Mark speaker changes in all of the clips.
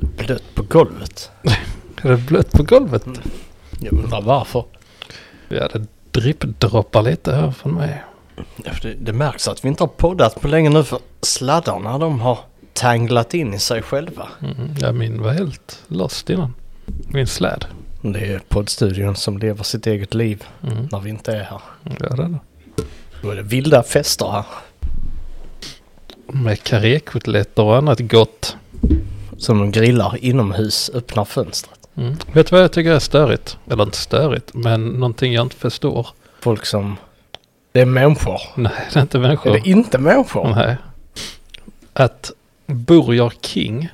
Speaker 1: Blött på golvet.
Speaker 2: Är det blött på golvet?
Speaker 1: Ja, men
Speaker 2: Undrar varför. Ja, det drippdroppar lite här från mig.
Speaker 1: det, det märks att vi inte har poddat på länge nu för sladdarna de har tanglat in i sig själva.
Speaker 2: Mm, ja, min var helt lost innan. Min släd.
Speaker 1: Det är poddstudion som lever sitt eget liv
Speaker 2: Mm,
Speaker 1: när vi inte är här.
Speaker 2: ja, det är det.
Speaker 1: Då är det vilda fester här.
Speaker 2: Med karékotletter och annat gott.
Speaker 1: Som de grillar inomhus, öppnar fönstret.
Speaker 2: Mm. Vet du vad jag tycker är störigt? Eller inte störigt, men någonting jag inte förstår.
Speaker 1: Folk som... Det är människor.
Speaker 2: Nej, det är inte människor.
Speaker 1: Är det inte människor?
Speaker 2: Nej. Att Burger King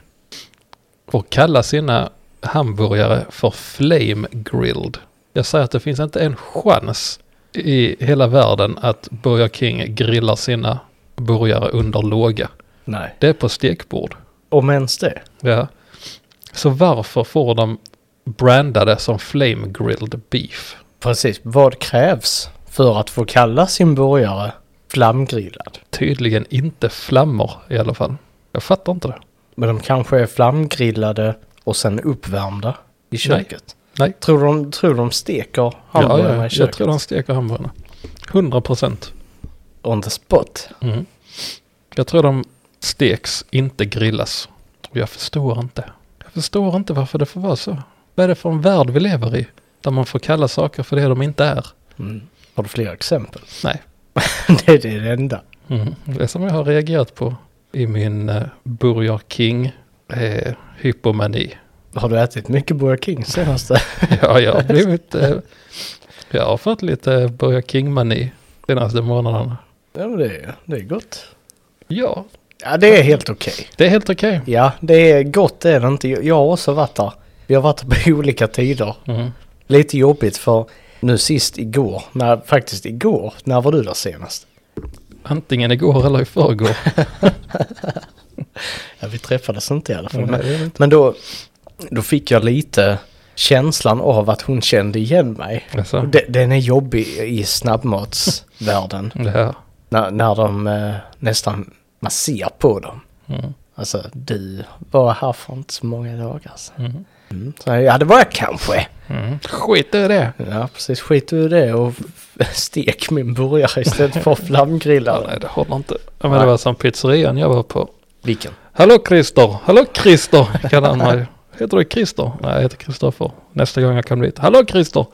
Speaker 2: får kalla sina hamburgare för flame grilled. Jag säger att det finns inte en chans i hela världen att Burger King grillar sina burgare under låga.
Speaker 1: Nej.
Speaker 2: Det är på stekbord.
Speaker 1: Om ens det.
Speaker 2: Ja. Så varför får de brandade som flame grilled beef?
Speaker 1: Precis. Vad krävs för att få kalla sin burgare flamgrillad?
Speaker 2: Tydligen inte flammor i alla fall. Jag fattar inte det.
Speaker 1: Men de kanske är flamgrillade och sen uppvärmda i köket.
Speaker 2: Nej.
Speaker 1: Tror du de, tror du de steker hamburgarna i köket?
Speaker 2: Jag tror de steker hamburgarna. 100 procent.
Speaker 1: On the spot.
Speaker 2: Mm. Jag tror de steks, inte grillas. Och jag förstår inte. Jag förstår inte varför det får vara så. Vad är det för en värld vi lever i? Där man får kalla saker för det de inte är.
Speaker 1: Mm. Har du fler exempel?
Speaker 2: Nej.
Speaker 1: det är det enda.
Speaker 2: Mm. Det som jag har reagerat på i min eh, Burger King eh, hypomani.
Speaker 1: Har du ätit mycket Burger King senaste?
Speaker 2: Ja, jag har blivit... Eh, jag har fått lite Burger King-mani senaste månaderna.
Speaker 1: ja, men det är, det är gott.
Speaker 2: Ja,
Speaker 1: Ja, det är helt okej.
Speaker 2: det är helt okej.
Speaker 1: Ja, det är gott det är det inte. Jag har också varit där. Vi har varit där på olika tider.
Speaker 2: Mm.
Speaker 1: Lite jobbigt för nu sist igår, när, faktiskt igår, när var du där senast?
Speaker 2: Antingen igår eller i förrgår.
Speaker 1: Ja, vi träffades inte i alla fall.
Speaker 2: Nej,
Speaker 1: men-
Speaker 2: det är det inte.
Speaker 1: Men då, då fick jag lite känslan av att hon kände igen mig.
Speaker 2: Alltså,
Speaker 1: De- Den är jobbig i snabbmatsvärlden.
Speaker 2: det här.
Speaker 1: när, när de eh, nästan, man ser på dem.
Speaker 2: Mm.
Speaker 1: Alltså du var här för inte så många dagar sedan.
Speaker 2: Mm.
Speaker 1: Mm. Så, jag, ja det var jag kanske.
Speaker 2: Mm. Skit i det.
Speaker 1: Ja precis, skit du i det och stek min burgare istället för
Speaker 2: Ja,
Speaker 1: flamgrillad.
Speaker 2: nej, det håller inte. Ja, men
Speaker 1: Nej.
Speaker 2: det var som pizzerian jag var på.
Speaker 1: Vilken?
Speaker 2: Hallå Christer, hallå Christer kallar han mig. Heter du Christer? Nej, jag heter Kristoffer. Nästa gång jag kommer dit. Hallå Christer!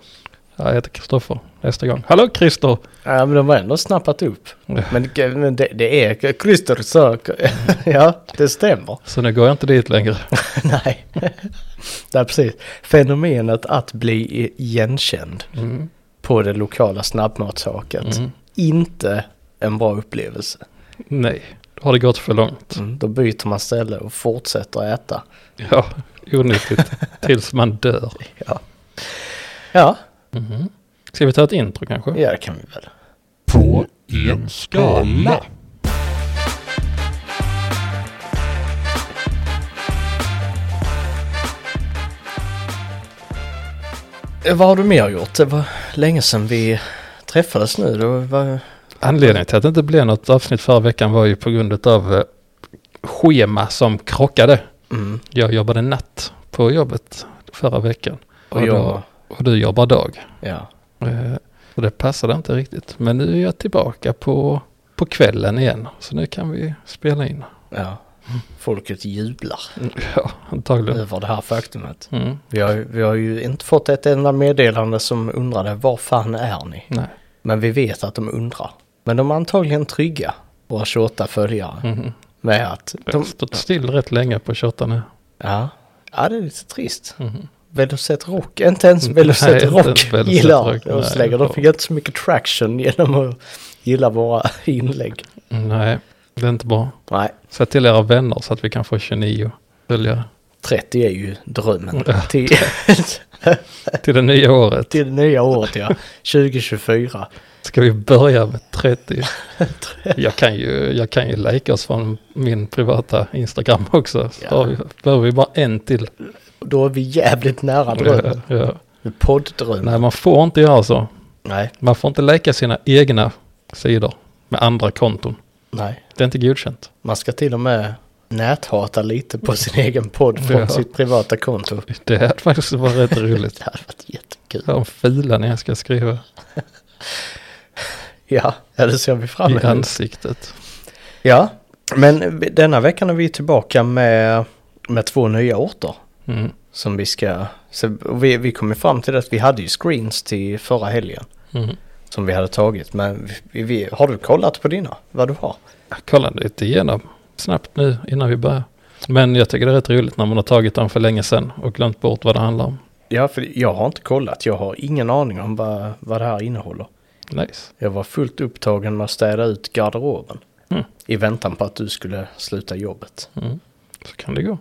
Speaker 2: Ja, jag heter Kristoffer. Nästa gång. Hallå Christer!
Speaker 1: Ja men de var ändå snappat upp.
Speaker 2: Ja.
Speaker 1: Men, men det, det är Christer söker. ja, det stämmer.
Speaker 2: Så nu går jag inte dit längre.
Speaker 1: Nej. Nej, precis. Fenomenet att bli igenkänd
Speaker 2: Mm.
Speaker 1: på det lokala snabbmatshaket.
Speaker 2: Mm.
Speaker 1: Inte en bra upplevelse.
Speaker 2: Nej, då har det gått för långt.
Speaker 3: Mm.
Speaker 1: Då byter man ställe och fortsätter äta.
Speaker 2: Ja, onyttigt. Tills man dör.
Speaker 1: Ja,
Speaker 2: Mhm. Ska vi ta ett intro kanske?
Speaker 1: ja det kan vi väl.
Speaker 3: på en skala.
Speaker 1: Eh, Vad har du mer gjort? Det var länge sedan vi träffades nu. Då var...
Speaker 2: Anledningen till att det inte blev något avsnitt förra veckan var ju på grund av eh, schema som krockade.
Speaker 1: mm.
Speaker 2: Jag jobbade natt på jobbet förra veckan.
Speaker 1: Och jag...
Speaker 2: då, och du jobbar dag.
Speaker 1: Ja.
Speaker 2: Eh, Och det passade inte riktigt. Men nu är jag tillbaka på, på kvällen igen. Så nu kan vi spela in.
Speaker 1: ja. Folket jublar
Speaker 2: Ja, antagligen.
Speaker 1: över det här faktumet.
Speaker 2: Mm,
Speaker 1: Vi har, ju- vi har ju inte fått ett enda meddelande som undrade var fan är ni?
Speaker 2: nej.
Speaker 1: Men vi vet att de undrar. Men de är antagligen trygga, våra 28 följare,
Speaker 2: Mhm.
Speaker 1: med att
Speaker 2: Jag har
Speaker 1: de...
Speaker 2: stått still rätt länge på 28 nu.
Speaker 1: Ja, ja det är lite trist.
Speaker 2: Mhm.
Speaker 1: Velocet Rock, inte ens
Speaker 2: Nej,
Speaker 1: Velocet
Speaker 2: inte
Speaker 1: Rock
Speaker 2: ens Velocet
Speaker 1: gillar
Speaker 2: Rock,
Speaker 1: de
Speaker 2: nej.
Speaker 1: längre. De fick inte så mycket traction genom att gilla våra inlägg.
Speaker 2: Nej, det är inte bra.
Speaker 1: Nej,
Speaker 2: Säg till era vänner så att vi kan få 29 följare
Speaker 1: 30 är ju drömmen till,
Speaker 2: till det nya året.
Speaker 1: till det nya året, ja. 2024.
Speaker 2: Ska vi börja med 30? Jag kan ju, jag kan ju lajka oss från min privata Instagram också. Så
Speaker 1: Ja.
Speaker 2: har vi, behöver vi bara en till.
Speaker 1: Då är vi jävligt nära drömmen.
Speaker 2: Ja. Nej,
Speaker 1: Podddrömmen.
Speaker 2: man får inte göra så.
Speaker 1: Nej,
Speaker 2: Man får inte lajka sina egna sidor med andra konton.
Speaker 1: nej.
Speaker 2: Det är inte godkänt.
Speaker 1: Man ska till och med näthata lite på sin egen podd från
Speaker 2: Ja.
Speaker 1: sitt privata konto.
Speaker 2: Det hade faktiskt varit rätt roligt.
Speaker 1: Det hade varit jättekul.
Speaker 2: De fula när jag ska skriva
Speaker 1: Ja, ja det ser vi fram
Speaker 2: i
Speaker 1: emot.
Speaker 2: ansiktet.
Speaker 1: Ja, men denna veckan är vi tillbaka med, med två nya orter.
Speaker 2: Mm.
Speaker 1: Som vi ska... Så vi, vi kom ju fram till att vi hade ju screens till förra helgen.
Speaker 2: Mm.
Speaker 1: Som vi hade tagit. Men vi, vi, har du kollat på dina? Vad du har?
Speaker 2: Jag kollade lite igenom snabbt nu innan vi börjar. Men jag tycker det är rätt roligt när man har tagit dem för länge sedan och glömt bort vad det handlar om.
Speaker 1: Ja, för jag har inte kollat. Jag har ingen aning om vad, vad det här innehåller.
Speaker 2: Nice.
Speaker 1: Jag var fullt upptagen med att städa ut garderoben.
Speaker 2: Mm.
Speaker 1: I väntan på att du skulle sluta jobbet.
Speaker 2: Så kan det gå.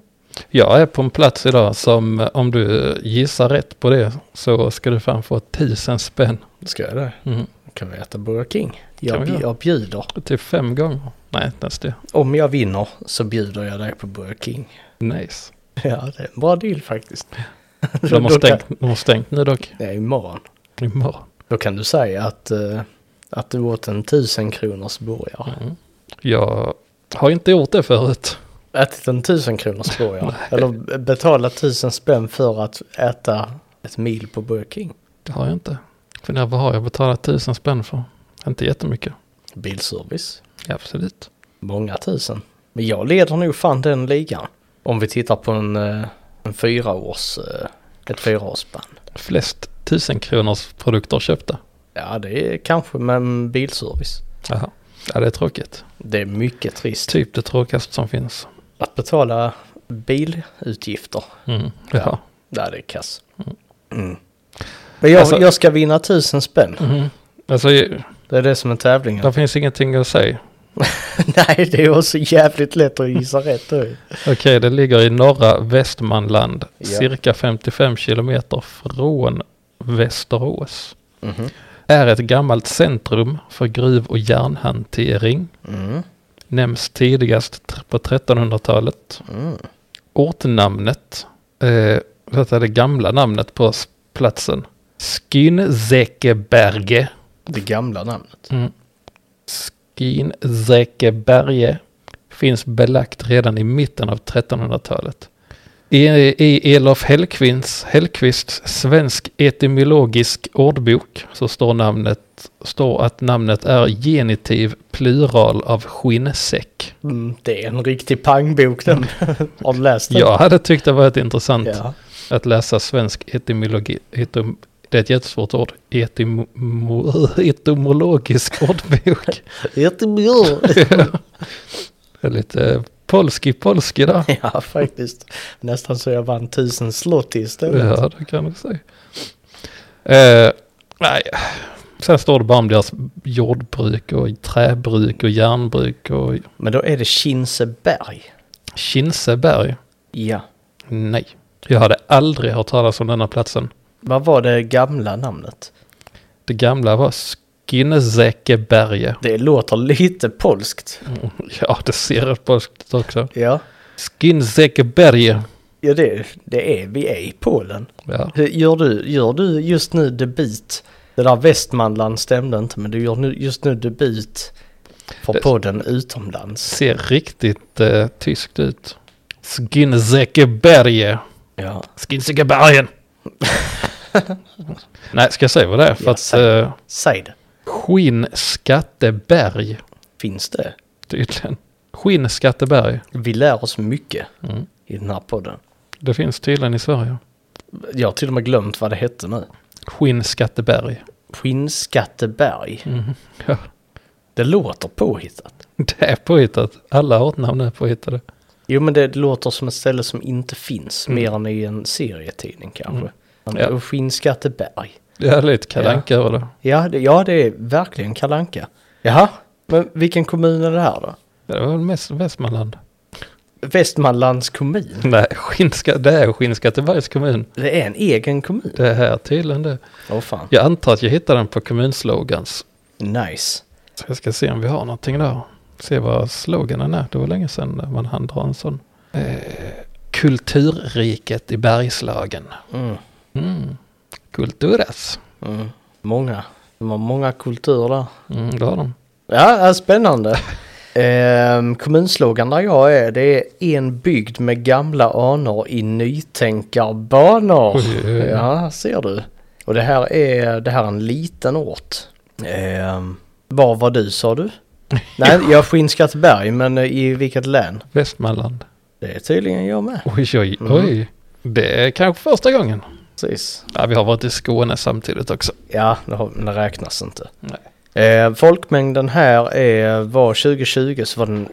Speaker 2: Jag är på en plats idag som eh, om du eh, gissar rätt på det så ska du fan få tusen spänn.
Speaker 1: Ska jag det?
Speaker 2: Mm.
Speaker 1: Kan vi äta Burger King?
Speaker 2: Kan
Speaker 1: Jag,
Speaker 2: vi
Speaker 1: bj-
Speaker 2: göra.
Speaker 1: jag bjuder.
Speaker 2: Typ fem gånger. Nej, inte ens det.
Speaker 1: Om jag vinner så bjuder jag dig på Burger King.
Speaker 2: Nice.
Speaker 1: Ja, det är en bra deal faktiskt.
Speaker 2: De har,
Speaker 1: Då kan-
Speaker 2: stängt, de har stängt nu dock.
Speaker 1: Det är imorgon.
Speaker 2: Imorgon.
Speaker 1: Då kan du säga att, eh, att du åt en tusen kronors burgare.
Speaker 2: Mm. Jag har inte gjort det förut.
Speaker 1: Ätit en tusen kronors burgare. Eller b- betalat tusen spänn för att äta ett mil på Burger King.
Speaker 2: Det har jag inte. Funderar vad har jag betalat tusen spänn för? Inte jättemycket.
Speaker 1: Bilservice.
Speaker 2: Absolut.
Speaker 1: Många tusen. Men jag leder nog fan den ligan. Om vi tittar på en, eh, en fyraårs, eh, ett fyraårsspann.
Speaker 2: Flest tusen kronors produkter köpta.
Speaker 1: Ja, det är kanske med bilservice.
Speaker 2: Jaha. Ja, det är tråkigt.
Speaker 1: Det är mycket trist.
Speaker 2: Typ det tråkigaste som finns.
Speaker 1: Att betala bilutgifter,
Speaker 2: Mm. Ja.
Speaker 1: där det är kass. Mm. Men jag,
Speaker 2: Alltså-
Speaker 1: jag ska vinna tusen spänn.
Speaker 2: Mm. Alltså, ju-
Speaker 1: Det är det som är tävlingen.
Speaker 2: där finns ingenting att säga.
Speaker 1: Nej, det är också jävligt lätt att gissa rätt. då.
Speaker 2: Okej, det ligger i norra Västmanland.
Speaker 1: Ja.
Speaker 2: Cirka 55 kilometer från Västerås.
Speaker 1: Mhm.
Speaker 2: Är ett gammalt centrum för gruv och järnhantering.
Speaker 1: Mm.
Speaker 2: Nämns tidigast tr- på 1300-talet.
Speaker 1: Mm.
Speaker 2: Ortnamnet, eh, detta är det gamla namnet på s- platsen. Skynsäkeberge.
Speaker 1: Det gamla namnet.
Speaker 2: Skynsäkeberge finns belagt redan i mitten av 1300-talet. I, I Elof Hellqvists, Hellqvists svensk etymologisk ordbok så står, namnet, står att namnet är genitiv plural av skinnsäck.
Speaker 1: Mm, det är en riktig pangbok den. Har du läst den?
Speaker 2: Jag hade tyckt det varit intressant
Speaker 1: Ja.
Speaker 2: att läsa svensk etymologi. Etym, det är ett jättesvårt ord. Etymo, etymologisk ordbok.
Speaker 1: Göteborg.
Speaker 2: Det är lite polski polski där.
Speaker 1: ja, faktiskt. Nästan så jag vann tusen slott istället.
Speaker 2: Ja, det kan du säga. Eh, nej. Sen står det bara om deras jordbruk och träbruk och järnbruk och
Speaker 1: Men då är det Kinseberg.
Speaker 2: Kinseberg.
Speaker 1: Ja.
Speaker 2: Nej, jag hade aldrig hört talas om denna platsen.
Speaker 1: Vad var det gamla namnet?
Speaker 2: Det gamla var Skinnesäkeberge.
Speaker 1: Det låter lite polskt.
Speaker 2: Mm, Ja, det ser ut polskt också.
Speaker 1: Ja,
Speaker 2: Skinsäkeberge.
Speaker 1: ja det, det är vi är i Polen.
Speaker 2: Ja.
Speaker 1: Hur- Gör du, gör du just nu debut? Det där Västmanland stämde inte men du gör nu, just nu debut för
Speaker 2: Det-
Speaker 1: podden utomlands.
Speaker 2: Ser riktigt eh, tyskt ut. Skinsäkeberge.
Speaker 1: Ja.
Speaker 2: Skinsäkebergen. Nej, ska jag säga vad det är? För
Speaker 1: Ja,
Speaker 2: att
Speaker 1: säg.
Speaker 2: eh,
Speaker 1: Säg det.
Speaker 2: Skinnskatteberg
Speaker 1: Finns det?
Speaker 2: tydligen. Skinnskatteberg.
Speaker 1: Vi lär oss mycket
Speaker 2: Mm.
Speaker 1: i den här podden.
Speaker 2: Det finns tydligen i Sverige.
Speaker 1: Jag har till och med glömt vad det hette nu.
Speaker 2: Skinnskatteberg.
Speaker 1: Skinnskatteberg.
Speaker 2: Mhm. Ja,
Speaker 1: Det låter påhittat.
Speaker 2: det är påhittat. Alla ortnamn är påhittade.
Speaker 1: Jo men det låter som ett ställe som inte finns mer än i en serietidning kanske.
Speaker 2: Mm. Ja.
Speaker 1: Skinnskatteberg.
Speaker 2: Det är lite Kalle
Speaker 1: Ja.
Speaker 2: Anka över det.
Speaker 1: Ja det, ja, det är verkligen kalanka. Jaha, men vilken kommun är det här då?
Speaker 2: Det var väl mest Västmanland.
Speaker 1: Västmanlands kommun.
Speaker 2: Nej, Skinnska, det är Skinnskattebergs kommun.
Speaker 1: Det är en egen kommun.
Speaker 2: Det här tydligen det.
Speaker 1: Åh fan.
Speaker 2: Jag antar att jag hittade den på kommunslogans.
Speaker 1: Nice.
Speaker 2: Så jag ska se om vi har någonting där. Se vad sloganen är. Det var länge sedan man hann dra en sån. Eh, kulturriket i Bergslagen.
Speaker 1: Mm.
Speaker 2: Mm. Kulturas.
Speaker 1: Mm. Många. De har många kulturer där.
Speaker 2: Mm, det har de.
Speaker 1: Ja, ja, spännande. Ehm, kommunslogan där jag är, det är en bygd med gamla anor i nytänkarbanor.
Speaker 2: Oj, oj, oj.
Speaker 1: Ja, ser du. Och det här är, det här är en liten ort. Ehm, var var du sa du? Nej, jag är Skinnskatteberg, men eh, i vilket län?
Speaker 2: Västmanland.
Speaker 1: Det är tydligen jag med.
Speaker 2: Oj, oj,
Speaker 1: Mm.
Speaker 2: oj. Det är kanske första gången.
Speaker 1: Precis.
Speaker 2: Ja, vi har varit i Skåne samtidigt också.
Speaker 1: Ja, det, har, det räknas inte.
Speaker 2: Nej.
Speaker 1: Eh, folkmängden här är, var 2020 så var den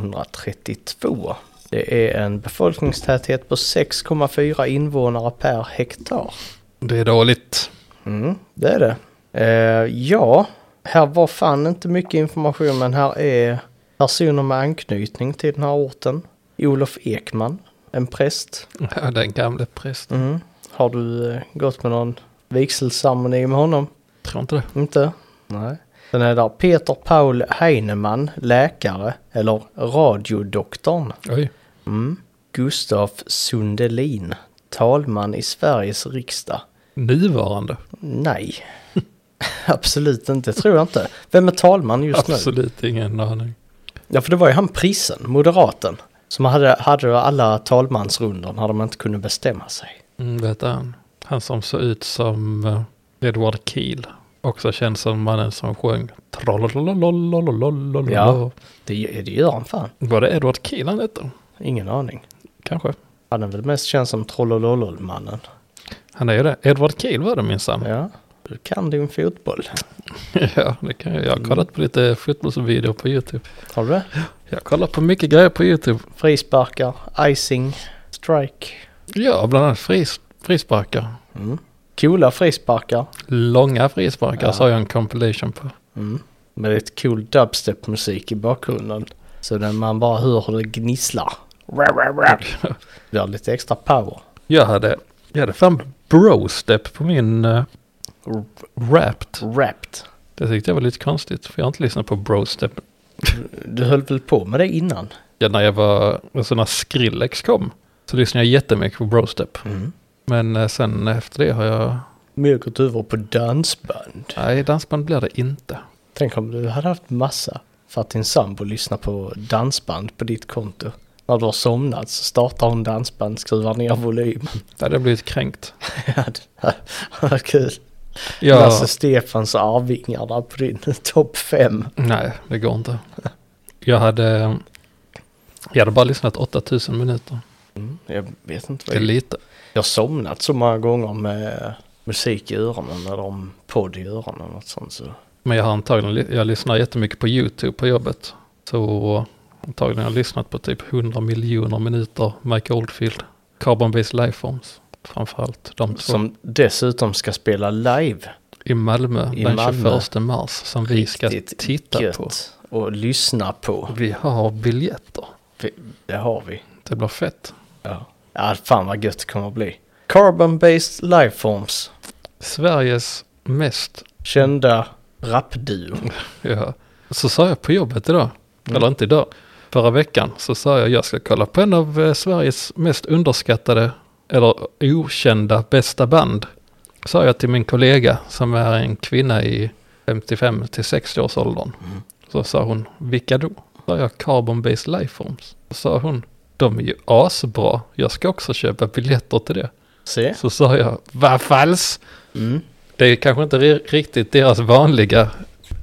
Speaker 1: 1432. Det är en befolkningstäthet på 6,4 invånare per hektar.
Speaker 2: Det är dåligt.
Speaker 1: Mm, det är det. Eh, ja, här var fan inte mycket information men här är personer med anknytning till den här orten. Olof Ekman, en präst.
Speaker 2: Ja, den gamle prästen.
Speaker 1: Mm. Har du eh, gått med någon vigselceremoni med honom?
Speaker 2: Tror inte det.
Speaker 1: Inte? Nej. Den är där Peter Paul Heinemann, läkare, eller radiodoktorn.
Speaker 2: Oj.
Speaker 1: Mm. Gustav Sundelin, talman i Sveriges riksdag.
Speaker 2: Nuvarande.
Speaker 1: Nej. Absolut inte, tror jag inte. Vem är talman just nu?
Speaker 2: Absolut ingen aning.
Speaker 1: Ja, för det var ju han prissen, moderaten. Som hade, hade alla talmansrundor när de inte kunde bestämma sig.
Speaker 2: Mm, vet han. Han som såg ut som eh, Edward Keel. Också känd som mannen som sjöng trollololololololololol.
Speaker 1: Ja. Det, det gör han fan.
Speaker 2: Var det Edward Keel han hette?
Speaker 1: Ingen aning.
Speaker 2: Kanske.
Speaker 1: Han är väl mest känd som Trollololol-mannen.
Speaker 2: Han är ju det. Edward Keel var det minsann. Ja.
Speaker 1: Ja, du kan din fotboll.
Speaker 2: det kan jag. Jag har kollat på lite fotbollsvideor på YouTube.
Speaker 1: Har du det?
Speaker 2: Jag kollar på mycket grejer på YouTube.
Speaker 1: Frisparkar, icing, strike.
Speaker 2: Ja, bland annat fris, frisparkar.
Speaker 1: Mm. Coola frisparkar.
Speaker 2: Långa frisparkar
Speaker 1: Ja.
Speaker 2: sa jag en compilation på.
Speaker 1: Mm. Med lite cool dubstep-musik i bakgrunden. Så när man bara hör hur det gnisslar. Det har lite extra power.
Speaker 2: Jag hade, jag hade fan brostep på min uh, Wrapped.
Speaker 1: Wrapped.
Speaker 2: Det tyckte jag var lite konstigt för jag har inte lyssnat på brostep.
Speaker 1: Du höll väl på med det innan?
Speaker 2: Ja, när jag var, alltså när Skrillex kom så lyssnade jag jättemycket på brostep.
Speaker 1: Mm.
Speaker 2: Men eh, sen efter det har jag,
Speaker 1: Men jag gått över på dansband.
Speaker 2: nej dansband blir det inte.
Speaker 1: Tänk om du hade haft massa. För att din sambo lyssnar på dansband på ditt konto. När du har somnat så startar hon dansband, skruvar ner volymen.
Speaker 2: Det hade jag blivit kränkt.
Speaker 1: Ja, det- Vad kul.
Speaker 2: Ja,
Speaker 1: Lasse Stefans Arvingar där på din topp 5.
Speaker 2: nej det går inte. Jag hade, jag hade bara lyssnat 8000 minuter.
Speaker 1: Mm, Jag vet inte
Speaker 2: Det är
Speaker 1: vad jag...
Speaker 2: lite.
Speaker 1: Jag har somnat så många gånger med musik i öronen eller om podd i öronen och något sånt så.
Speaker 2: Men jag har antagligen, li- jag lyssnar jättemycket på YouTube på jobbet. Så antagligen har jag lyssnat på typ 100 miljoner minuter Mike Oldfield. Carbon Based Lifeforms. Framförallt de två.
Speaker 1: Som dessutom ska spela live.
Speaker 2: i Malmö
Speaker 1: i
Speaker 2: den
Speaker 1: Malmö.
Speaker 2: 21 mars. Som vi ska
Speaker 1: Riktigt
Speaker 2: titta
Speaker 1: gött
Speaker 2: på.
Speaker 1: Och lyssna på.
Speaker 2: Vi har biljetter.
Speaker 1: Vi- Det har vi.
Speaker 2: Det blir fett.
Speaker 1: Ja. ja fan vad gött det kommer bli. Carbon-based lifeforms.
Speaker 2: Sveriges mest,
Speaker 1: Kända rapduo.
Speaker 2: ja. Så sa jag på jobbet idag.
Speaker 1: Mm.
Speaker 2: Eller inte idag. Förra veckan så sa jag jag ska kolla på en av eh, Sveriges mest underskattade eller okända bästa band. Sa jag till min kollega som är en kvinna i 55 till 60 års åldern. Så sa hon, vilka då? Sa jag Carbon Based Lifeforms. Så sa hon, de är ju asbra, jag ska också köpa biljetter till det.
Speaker 1: Se.
Speaker 2: Så sa jag, vad falskt?
Speaker 1: Mm.
Speaker 2: Det är kanske inte ri- riktigt deras vanliga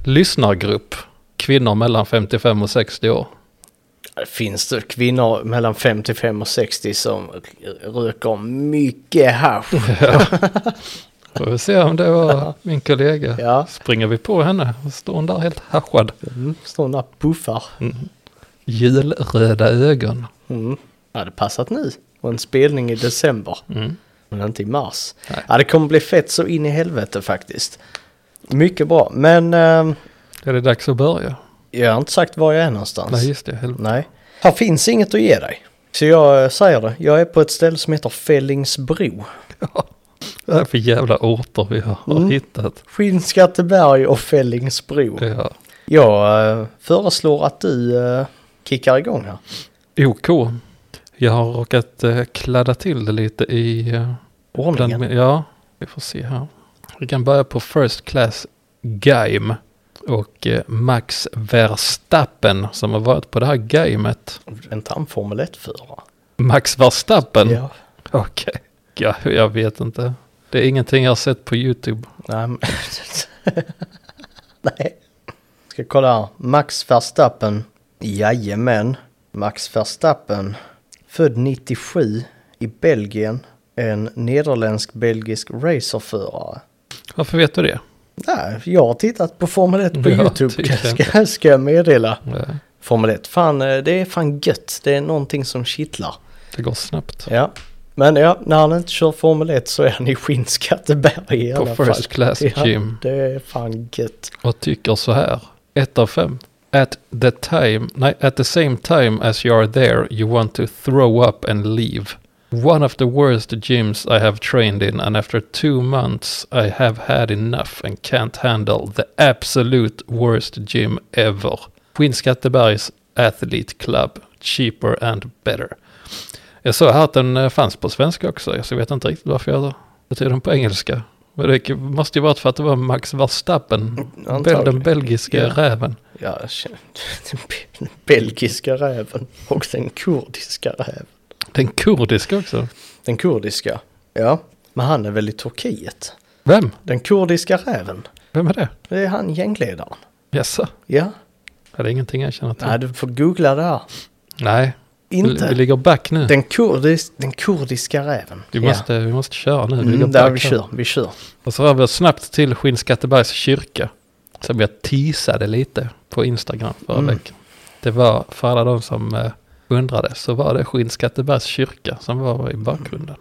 Speaker 2: lyssnargrupp. Kvinnor mellan 55 och 60 år.
Speaker 1: Finns det kvinnor mellan 55 och 60 som r- röker mycket hasch?
Speaker 2: Mm. Får vi se om det var min kollega.
Speaker 1: Ja.
Speaker 2: Springer vi på henne och står hon där helt haschad.
Speaker 1: Mm. Står hon där och puffar.
Speaker 2: Mm. Julröda ögon.
Speaker 1: Mm. Hade passat nu. Och en spelning i december.
Speaker 2: Mm.
Speaker 1: Men inte i mars. Ja, det kommer bli fett så in i helvete faktiskt. Mycket bra. Men eh,
Speaker 2: Är det dags att börja?
Speaker 1: jag har inte sagt var jag är någonstans.
Speaker 2: Nej, just det. Helvete.
Speaker 1: Nej. Här finns inget att ge dig. Så jag eh, säger det. Jag är på ett ställe som heter Fällingsbro.
Speaker 2: Vad är det för jävla orter vi har
Speaker 1: Mm.
Speaker 2: hittat?
Speaker 1: Skinnskatteberg och Fällingsbro.
Speaker 2: Ja.
Speaker 1: Jag eh, föreslår att du eh, kickar igång här.
Speaker 2: OK. Jag har råkat eh, kladda till det lite i... eh,
Speaker 1: Ordningen.
Speaker 2: Bland, ja, vi får se här. Vi kan börja på First Class Gaim. Och eh, Max Verstappen som har varit på det här gamet.
Speaker 1: Är inte han Formel 1-förare?
Speaker 2: Max Verstappen?
Speaker 1: Ja.
Speaker 2: Okej. Ja, jag vet inte. Det är ingenting jag har sett på YouTube.
Speaker 1: Nej. men- Nej. Ska kolla här. Max Verstappen. Jajamän. Max Verstappen. Född 97 i Belgien. En nederländsk-belgisk racerförare.
Speaker 2: Varför vet du det?
Speaker 1: Nej, jag har tittat på Formel 1 på
Speaker 2: Ja,
Speaker 1: YouTube.
Speaker 2: tydligen.
Speaker 1: Ska, ska jag meddela.
Speaker 2: Eh,
Speaker 1: Formel 1, fan eh, det är fan gött. Det är någonting som kittlar.
Speaker 2: Det går snabbt.
Speaker 1: Ja. Men ja, när han inte kör Formel 1 så är han i Skinnskatteberg i
Speaker 2: På
Speaker 1: alla fall.
Speaker 2: First Class Gym.
Speaker 1: Ja, det är fan gött.
Speaker 2: och tycker så här. 1 av 5. At the time, nej, at the same time as you are there you want to throw up and leave. One of the worst gyms I have trained in and after two months I have had enough and can't handle the absolute worst gym ever. Skinnskattebergs Athlete Club, cheaper and better. Jag såg här att den eh, fanns på svenska också, så jag vet inte riktigt varför jag betyder den på engelska. Men det måste ju varit för att det var Max Verstappen Bel, den
Speaker 1: Antagligen.
Speaker 2: belgiska
Speaker 1: Ja.
Speaker 2: räven.
Speaker 1: Ja, jag känner- den be- den belgiska räven och den kurdiska räven.
Speaker 2: Den kurdiska också.
Speaker 1: Den kurdiska, ja. Men han är väl i Turkiet?
Speaker 2: Vem?
Speaker 1: Den kurdiska räven,
Speaker 2: Vem är det?
Speaker 1: det är han gängledaren.
Speaker 2: Jaså?
Speaker 1: Ja,
Speaker 2: Är det ingenting jag känner till?
Speaker 1: nej du får googla det här.
Speaker 2: Nej. Vi, vi
Speaker 1: Inte.
Speaker 2: ligger back nu.
Speaker 1: Den, kurdis, den kurdiska räven.
Speaker 2: Vi, måste, vi måste köra nu. Vi
Speaker 1: ja.
Speaker 2: ligger
Speaker 1: mm, där
Speaker 2: back
Speaker 1: vi
Speaker 2: här.
Speaker 1: kör, vi kör.
Speaker 2: Och så rör vi oss snabbt till Skinnskattebergs kyrka. Som jag teasade lite på Instagram förra
Speaker 1: Mm.
Speaker 2: veckan. Det var, för alla de som eh, undrade, så var det Skinnskattebergs kyrka som var i bakgrunden.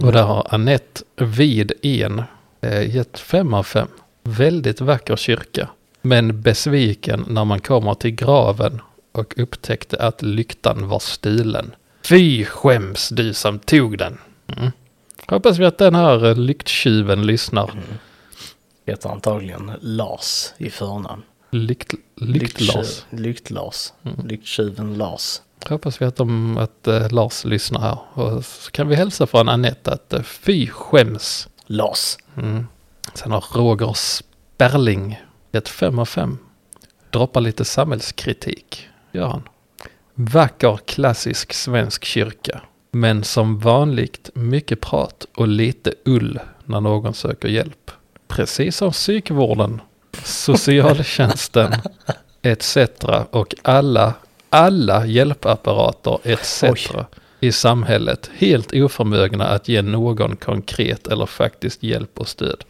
Speaker 2: Och där har Annette Vid en eh, gett fem av fem. Väldigt vacker kyrka. Men besviken när man kommer till graven och upptäckte att lyktan var stulen. Fy skäms du som tog den. Mm. Hoppas vi att den här eh, lykttjuven lyssnar.
Speaker 1: Heter antagligen Lars i förnamn.
Speaker 2: Lykt, Lykt-Lars.
Speaker 1: Lyktju- Lykt-Lars.
Speaker 2: Mm.
Speaker 1: Lykttjuven Lars.
Speaker 2: Hoppas vi att, de, att eh, Lars lyssnar här. Och så kan vi hälsa från Anette att eh, fy skäms.
Speaker 1: Lars.
Speaker 2: Mm. Sen har Roger Sperling gett 5 av 5. Droppar lite samhällskritik, gör han. Vacker klassisk svensk kyrka. Men som vanligt mycket prat och lite ull när någon söker hjälp. Precis som psykvården, socialtjänsten etc. och alla, alla hjälpapparater etc.
Speaker 1: Oj.
Speaker 2: i samhället helt oförmögna att ge någon konkret eller faktiskt hjälp och stöd.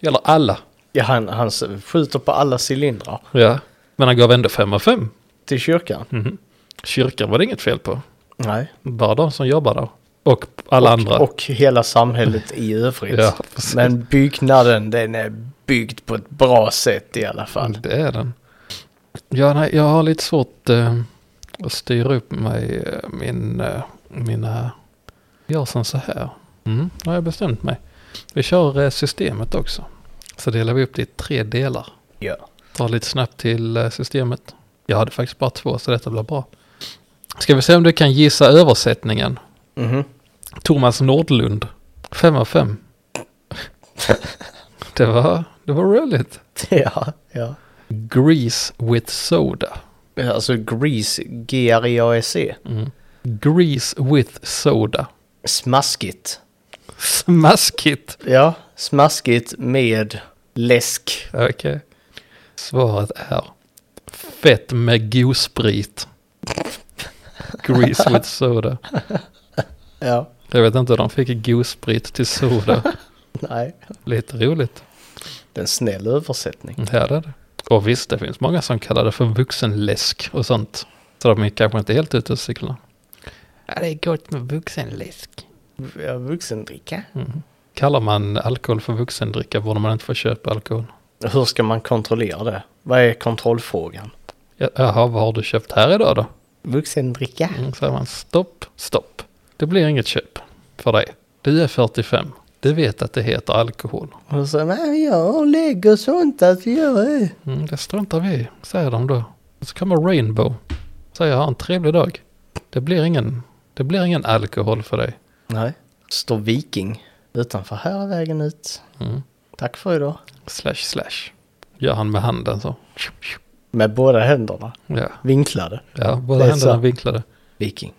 Speaker 2: Det gäller alla.
Speaker 1: Ja, han, han skjuter på alla cylindrar
Speaker 2: Ja. Men han gav ändå fem av fem.
Speaker 1: till kyrkan.
Speaker 2: Mm. Kyrkan var det inget fel på.
Speaker 1: Nej.
Speaker 2: Bara de som jobbar där. Och alla andra.
Speaker 1: Och hela samhället i övrigt.
Speaker 2: Ja, precis.
Speaker 1: Men byggnaden, den är byggd på ett bra sätt i alla fall.
Speaker 2: Det är den. Ja, nej, jag har lite svårt eh, att styra upp mig, eh, min, eh, mina... Gör som så här. Mm, nu har jag bestämt mig. Vi kör eh, systemet också. Så delar vi upp det i tre delar.
Speaker 1: Ja.
Speaker 2: Ta lite snabbt till eh, systemet. Jag hade faktiskt bara två, så detta blir bra. Ska vi se om du kan gissa översättningen?
Speaker 1: Mhm.
Speaker 2: Thomas Nordlund. fem av fem. det, var, det var roligt.
Speaker 1: Ja, ja.
Speaker 2: Grease with soda.
Speaker 1: Alltså Grease, E G-R-E-A-S-E.
Speaker 2: Mm. Grease with soda.
Speaker 1: Smaskigt.
Speaker 2: Smaskigt.
Speaker 1: Ja, smaskigt med läsk.
Speaker 2: Okej. Svaret är fett med godsprit. Grease with soda.
Speaker 1: Ja,
Speaker 2: Jag vet inte hur de fick godsprit till soda.
Speaker 1: nej.
Speaker 2: Lite roligt.
Speaker 1: Det är en snäll översättning.
Speaker 2: Ja, det är det. Och visst, det finns många som kallar det för vuxenläsk och sånt. Så de är kanske inte helt ute och cyklar. Ja, det är gott med vuxenläsk.
Speaker 1: Ja, vuxendricka.
Speaker 2: Mm. Kallar man alkohol för vuxendricka borde man inte få köpa alkohol.
Speaker 1: Hur ska man kontrollera det? Vad är kontrollfrågan?
Speaker 2: Ja, Jaha, vad har du köpt här idag då?
Speaker 1: Vuxendricka.
Speaker 2: Mm, säger man stopp, stopp. Det blir inget köp för dig. Du är 45. Du vet att det heter alkohol.
Speaker 1: Och så, nej, jag lägger sånt att jag...
Speaker 2: Mm, det struntar vi i, säger de då. Och så kommer Rainbow. Säger ha en trevlig dag. Det blir ingen, det blir ingen alkohol för dig.
Speaker 1: Nej. Står Viking utanför här är vägen ut.
Speaker 2: Mm.
Speaker 1: Tack för idag.
Speaker 2: Slash slash. Gör han med handen så.
Speaker 1: Med båda händerna.
Speaker 2: Ja,
Speaker 1: Vinklade.
Speaker 2: ja
Speaker 1: Det
Speaker 2: båda
Speaker 1: är
Speaker 2: händerna
Speaker 1: så.
Speaker 2: vinklade.
Speaker 1: Viking.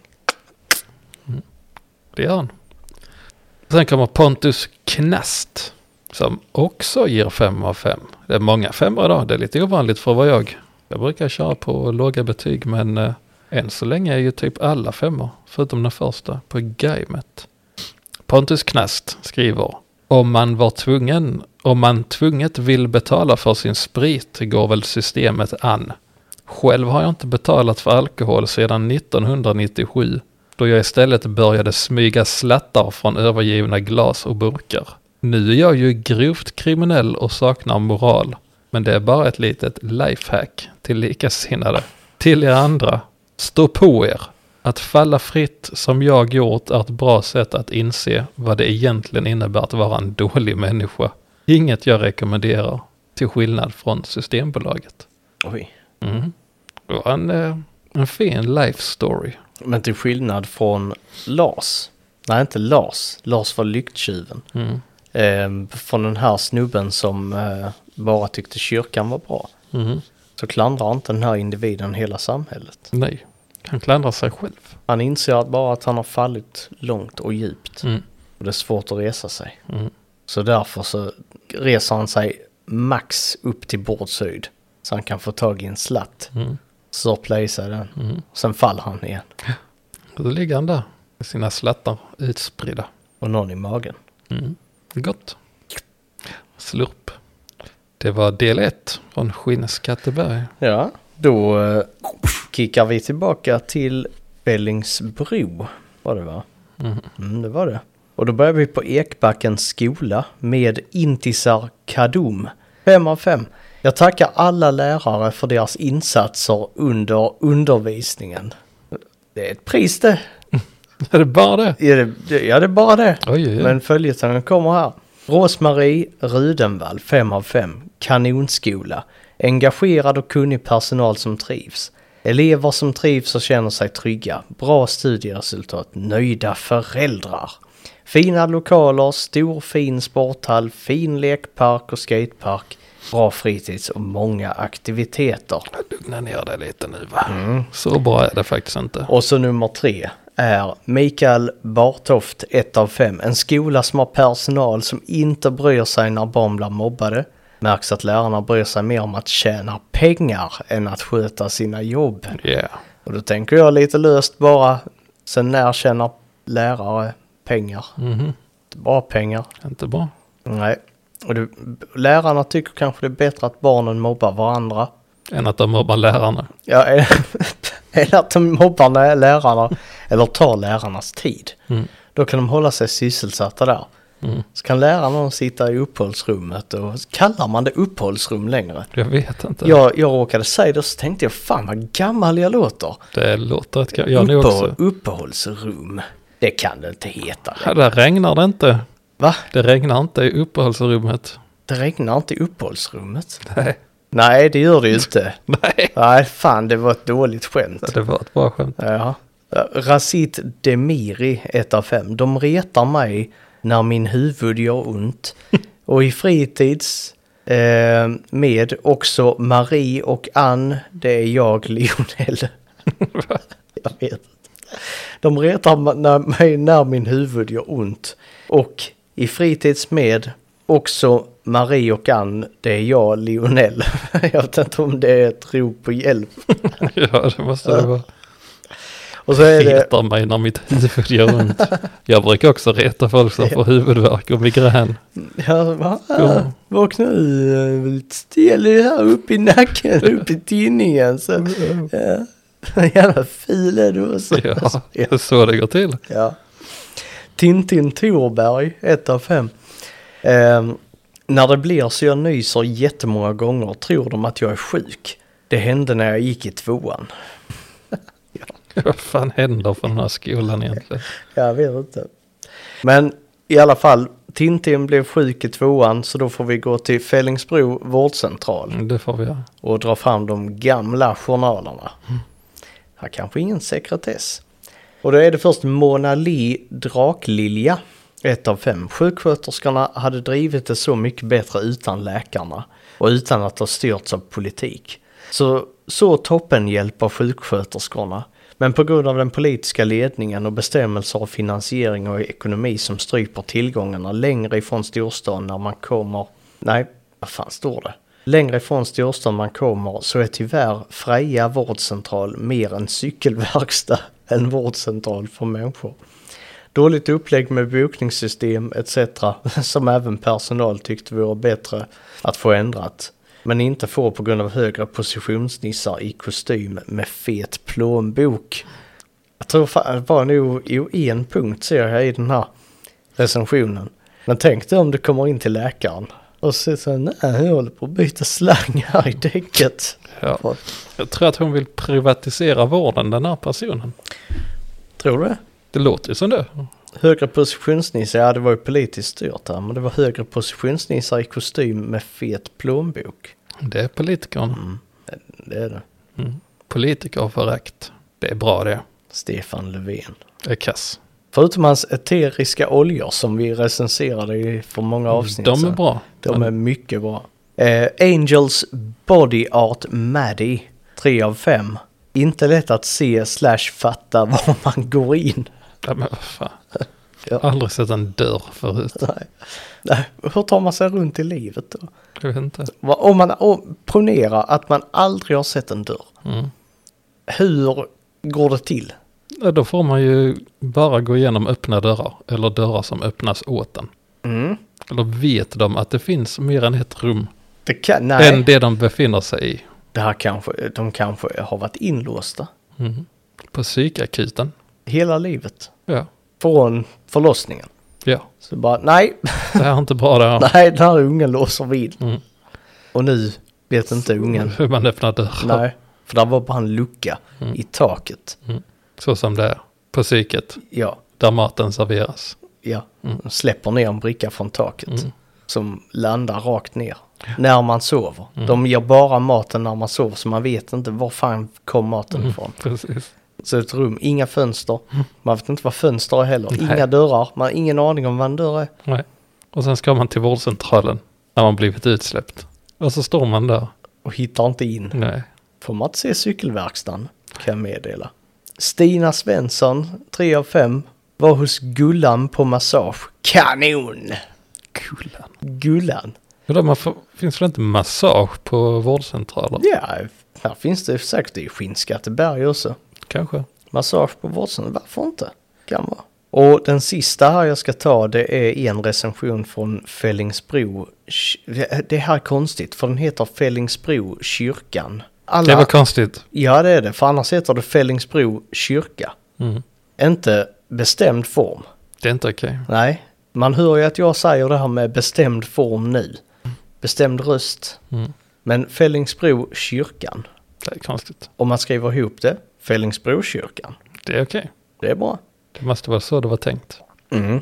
Speaker 2: Det gör han. Sen kommer Pontus Knast. Som också ger 5 av 5. Det är många femmor idag. Det är lite ovanligt för vad jag. Jag brukar köra på låga betyg men eh, än så länge är ju typ alla femmor. Förutom den första på gamet. Pontus Knast skriver. Om man var tvungen, om man tvunget vill betala för sin sprit går väl systemet an. Själv har jag inte betalat för alkohol sedan 1997 då jag istället började smyga slattar från övergivna glas och burkar. Nu är jag ju grovt kriminell och saknar moral, men det är bara ett litet lifehack till likasinnade. Till er andra, stå på er. Att falla fritt som jag gjort är ett bra sätt att inse vad det egentligen innebär att vara en dålig människa. Inget jag rekommenderar, till skillnad från Systembolaget.
Speaker 1: Oj.
Speaker 2: Mm. Det var en, eh, en fin life story.
Speaker 1: Men till skillnad från Lars. Nej, inte Lars. Lars var lykttjuven.
Speaker 2: Mm.
Speaker 1: Eh, från den här snubben som eh, bara tyckte kyrkan var bra.
Speaker 2: Mm.
Speaker 1: Så klandrar inte den här individen hela samhället.
Speaker 2: Nej, han klandrar sig själv.
Speaker 1: Han inser att bara att han har fallit långt och djupt.
Speaker 2: Mm.
Speaker 1: Och det är svårt att resa sig.
Speaker 2: Mm.
Speaker 1: Så därför så reser han sig max upp till bordshöjd. Så han kan få tag i en slatt.
Speaker 2: Mm.
Speaker 1: Så play sig den.
Speaker 2: Mm.
Speaker 1: Sen faller han igen.
Speaker 2: Och Då ligger han där med sina slattar utspridda.
Speaker 1: Och någon i magen.
Speaker 2: Mm. Gott. Slurp. Det var del ett från Skinnskatteberg.
Speaker 1: Ja, då eh, kickar vi tillbaka till Fellingsbro. Var det va?
Speaker 2: Mm.
Speaker 1: Mm, det var det. Och då börjar vi på Ekbackens skola med Intisar Kadum. 5 av 5. Jag tackar alla lärare för deras insatser under undervisningen. Det är ett pris det.
Speaker 2: Är det bara det?
Speaker 1: Ja, det, det- ja, det är bara det.
Speaker 2: Oj, oj, oj.
Speaker 1: Men följetongen kommer här. Rosmarie Rudenvall, 5 av 5. Kanonskola. Engagerad och kunnig personal som trivs. Elever som trivs och känner sig trygga. Bra studieresultat. Nöjda föräldrar. Fina lokaler, stor fin sporthall, fin lekpark och skatepark. Bra fritids och många aktiviteter.
Speaker 2: Lugna ner dig lite nu va. Så bra är det faktiskt inte.
Speaker 1: Och så nummer tre är Mikael Bartoft, 1 av 5. En skola som har personal som inte bryr sig när barn blir mobbade. Märks att lärarna bryr sig mer om att tjäna pengar än att sköta sina jobb.
Speaker 2: Yeah.
Speaker 1: Och då tänker jag lite löst bara, sen när tjänar lärare pengar?
Speaker 2: Mhm.
Speaker 1: Bara pengar?
Speaker 2: Inte bra.
Speaker 1: Nej. Och det, lärarna tycker kanske det är bättre att barnen mobbar varandra.
Speaker 2: Än att de mobbar lärarna.
Speaker 1: Ja, eller att de mobbar lä- lärarna eller tar lärarnas tid.
Speaker 2: Mm.
Speaker 1: Då kan de hålla sig sysselsatta där.
Speaker 2: Mm.
Speaker 1: Så kan lärarna sitta i uppehållsrummet och kallar man det uppehållsrum längre?
Speaker 2: Jag vet inte.
Speaker 1: Jag, jag råkade säga det så tänkte jag fan vad gammal jag låter.
Speaker 2: Det låter rätt Jag nu också.
Speaker 1: Uppehållsrum. Det kan det inte heta.
Speaker 2: Ja, där regnar det inte.
Speaker 1: Va?
Speaker 2: Det regnar inte i uppehållsrummet.
Speaker 1: Det regnar inte i uppehållsrummet?
Speaker 2: Nej.
Speaker 1: Nej, det gör det ju inte.
Speaker 2: Nej.
Speaker 1: Nej, fan det var ett dåligt skämt.
Speaker 2: Det var ett bra skämt.
Speaker 1: Ja. Rasit Demiri, 1 av 5. De retar mig när min huvud gör ont. Och i fritids eh, med också Marie och Ann, det är jag, Lionel. jag vet inte. De retar ma- när- mig när min huvud gör ont. Och i fritids med också Marie och Ann, det är jag, Lionel. jag vet inte om det är ett rop på hjälp.
Speaker 2: Ja, det måste det vara.
Speaker 1: Och så är det...
Speaker 2: Retar mig när mitt huvud gör ont. Jag brukar också reta folk som får huvudvärk och migrän.
Speaker 1: Ja, va?
Speaker 2: Ja.
Speaker 1: Vakna nu, stel dig här upp i nacken, upp i tinningen. Så, ja. Jävla fil är du också.
Speaker 2: Ja, det är så det går till.
Speaker 1: Ja. Tintin Thorberg, 1 av 5. Ehm, när det blir så jag nyser jättemånga gånger tror de att jag är sjuk. Det hände när jag gick i tvåan.
Speaker 2: Vad fan händer för den här skolan egentligen?
Speaker 1: Jag vet inte. Men i alla fall, Tintin blev sjuk i tvåan så då får vi gå till Fellingsbro vårdcentral.
Speaker 2: Det får vi göra.
Speaker 1: och dra fram de gamla journalerna. Här kanske ingen sekretess. Och då är det först Mona Li Draklilja, Ett av fem. Sjuksköterskorna hade drivit det så mycket bättre utan läkarna och utan att ha styrts av politik. Så, så toppen hjälper sjuksköterskorna. Men på grund av den politiska ledningen och bestämmelser av finansiering och ekonomi som stryper tillgångarna längre ifrån storstan när man kommer... Nej, vad fan står det? Längre ifrån storstan man kommer så är tyvärr Freja vårdcentral mer en cykelverkstad än vårdcentral för människor. Dåligt upplägg med bokningssystem etc. som även personal tyckte vore bättre att få ändrat. Men inte får på grund av högre positionsnissar i kostym med fet plånbok. Jag tror fan, det var nog jo, en punkt ser jag i den här recensionen. Men tänk dig om du kommer in till läkaren och så säger nej jag håller på att byta slang här i däcket.
Speaker 2: Ja. Jag tror att hon vill privatisera vården, den här personen.
Speaker 1: Tror du det?
Speaker 2: Det låter ju som det.
Speaker 1: Högre positionsnissar, ja det var ju politiskt styrt här, men det var högre positionsnissar i kostym med fet plånbok.
Speaker 2: Det är politikern.
Speaker 1: Det är det.
Speaker 2: Mm. Politikerförakt. Det är bra det.
Speaker 1: Stefan Löfven.
Speaker 2: Det är kass.
Speaker 1: Förutom hans eteriska oljor som vi recenserade i för många avsnitt.
Speaker 2: Mm, De är
Speaker 1: sedan.
Speaker 2: bra.
Speaker 1: De
Speaker 2: Men
Speaker 1: är mycket bra. Eh, Angels Body Art Maddie, 3 av 5. Inte lätt att se slash fatta var man går in.
Speaker 2: Ja, men vad fan.
Speaker 1: Ja.
Speaker 2: Jag har aldrig sett en dörr förut.
Speaker 1: Nej. Nej. Hur tar man sig runt i livet då?
Speaker 2: Jag vet inte.
Speaker 1: Va- Om man om, ponera att man aldrig har sett en dörr.
Speaker 2: Mm.
Speaker 1: Hur går det till?
Speaker 2: Ja, då får man ju bara gå igenom öppna dörrar. Eller dörrar som öppnas åt en.
Speaker 1: Mm.
Speaker 2: Eller vet de att det finns mer än ett rum
Speaker 1: Det kan, nej,
Speaker 2: än det de befinner sig i?
Speaker 1: det här kanske, de kanske har varit inlåsta
Speaker 2: Mm. På psykakuten?
Speaker 1: hela livet.
Speaker 2: Ja.
Speaker 1: Från förlossningen.
Speaker 2: ja.
Speaker 1: Så bara, nej,
Speaker 2: Det här är inte bra det här.
Speaker 1: nej, den här ungen låser vi in.
Speaker 2: Mm.
Speaker 1: Och nu vet inte ungen.
Speaker 2: Hur man öppnar dörrar.
Speaker 1: Nej, för där var bara en lucka
Speaker 2: Mm.
Speaker 1: i taket.
Speaker 2: Så som det är. På psyket.
Speaker 1: Ja,
Speaker 2: Där maten serveras.
Speaker 1: ja.
Speaker 2: Mm.
Speaker 1: Släpper ner en bricka från taket.
Speaker 2: Mm.
Speaker 1: Som landar rakt ner. När man sover.
Speaker 2: Mm.
Speaker 1: De ger bara maten när man sover så man vet inte var fan kom maten
Speaker 2: Mm.
Speaker 1: ifrån.
Speaker 2: Precis.
Speaker 1: Så ett rum, inga fönster. Man vet inte vad fönster är heller.
Speaker 2: Mm. Nej.
Speaker 1: Inga dörrar. Man har ingen aning om vad en dörr är.
Speaker 2: Nej. Och sen ska man till vårdcentralen. När man blivit utsläppt. Och så står man där.
Speaker 1: Och hittar inte in.
Speaker 2: Nej.
Speaker 1: Får man inte se cykelverkstan kan jag meddela. Stina Svensson, 3 av 5, var hos Gullan på massage. Kanon!
Speaker 2: Kulan.
Speaker 1: Gullan.
Speaker 2: Vadå, man får, finns det inte massage på vårdcentraler?
Speaker 1: Ja, här finns det säkert i Skinnskatteberg också.
Speaker 2: Kanske.
Speaker 1: Massage på vårdcentral, varför inte? Kan vara. Och den sista här jag ska ta det är en recension från Fällingsbro. Sh- Det här är konstigt för den heter Fällingsbro kyrkan. Alla...
Speaker 2: Det var konstigt.
Speaker 1: Ja det är det, för annars heter det Fällingsbro kyrka.
Speaker 2: Mm.
Speaker 1: Inte bestämd form.
Speaker 2: Det är inte okej.
Speaker 1: Nej, man hör ju att jag säger det här med bestämd form nu. Bestämd röst.
Speaker 2: Mm.
Speaker 1: Men Fällingsbro kyrkan.
Speaker 2: Det är konstigt.
Speaker 1: Om man skriver ihop det, Fällingsbro kyrkan.
Speaker 2: Det är okej.
Speaker 1: Det är bra.
Speaker 2: Det måste vara så det var tänkt.
Speaker 1: Mm.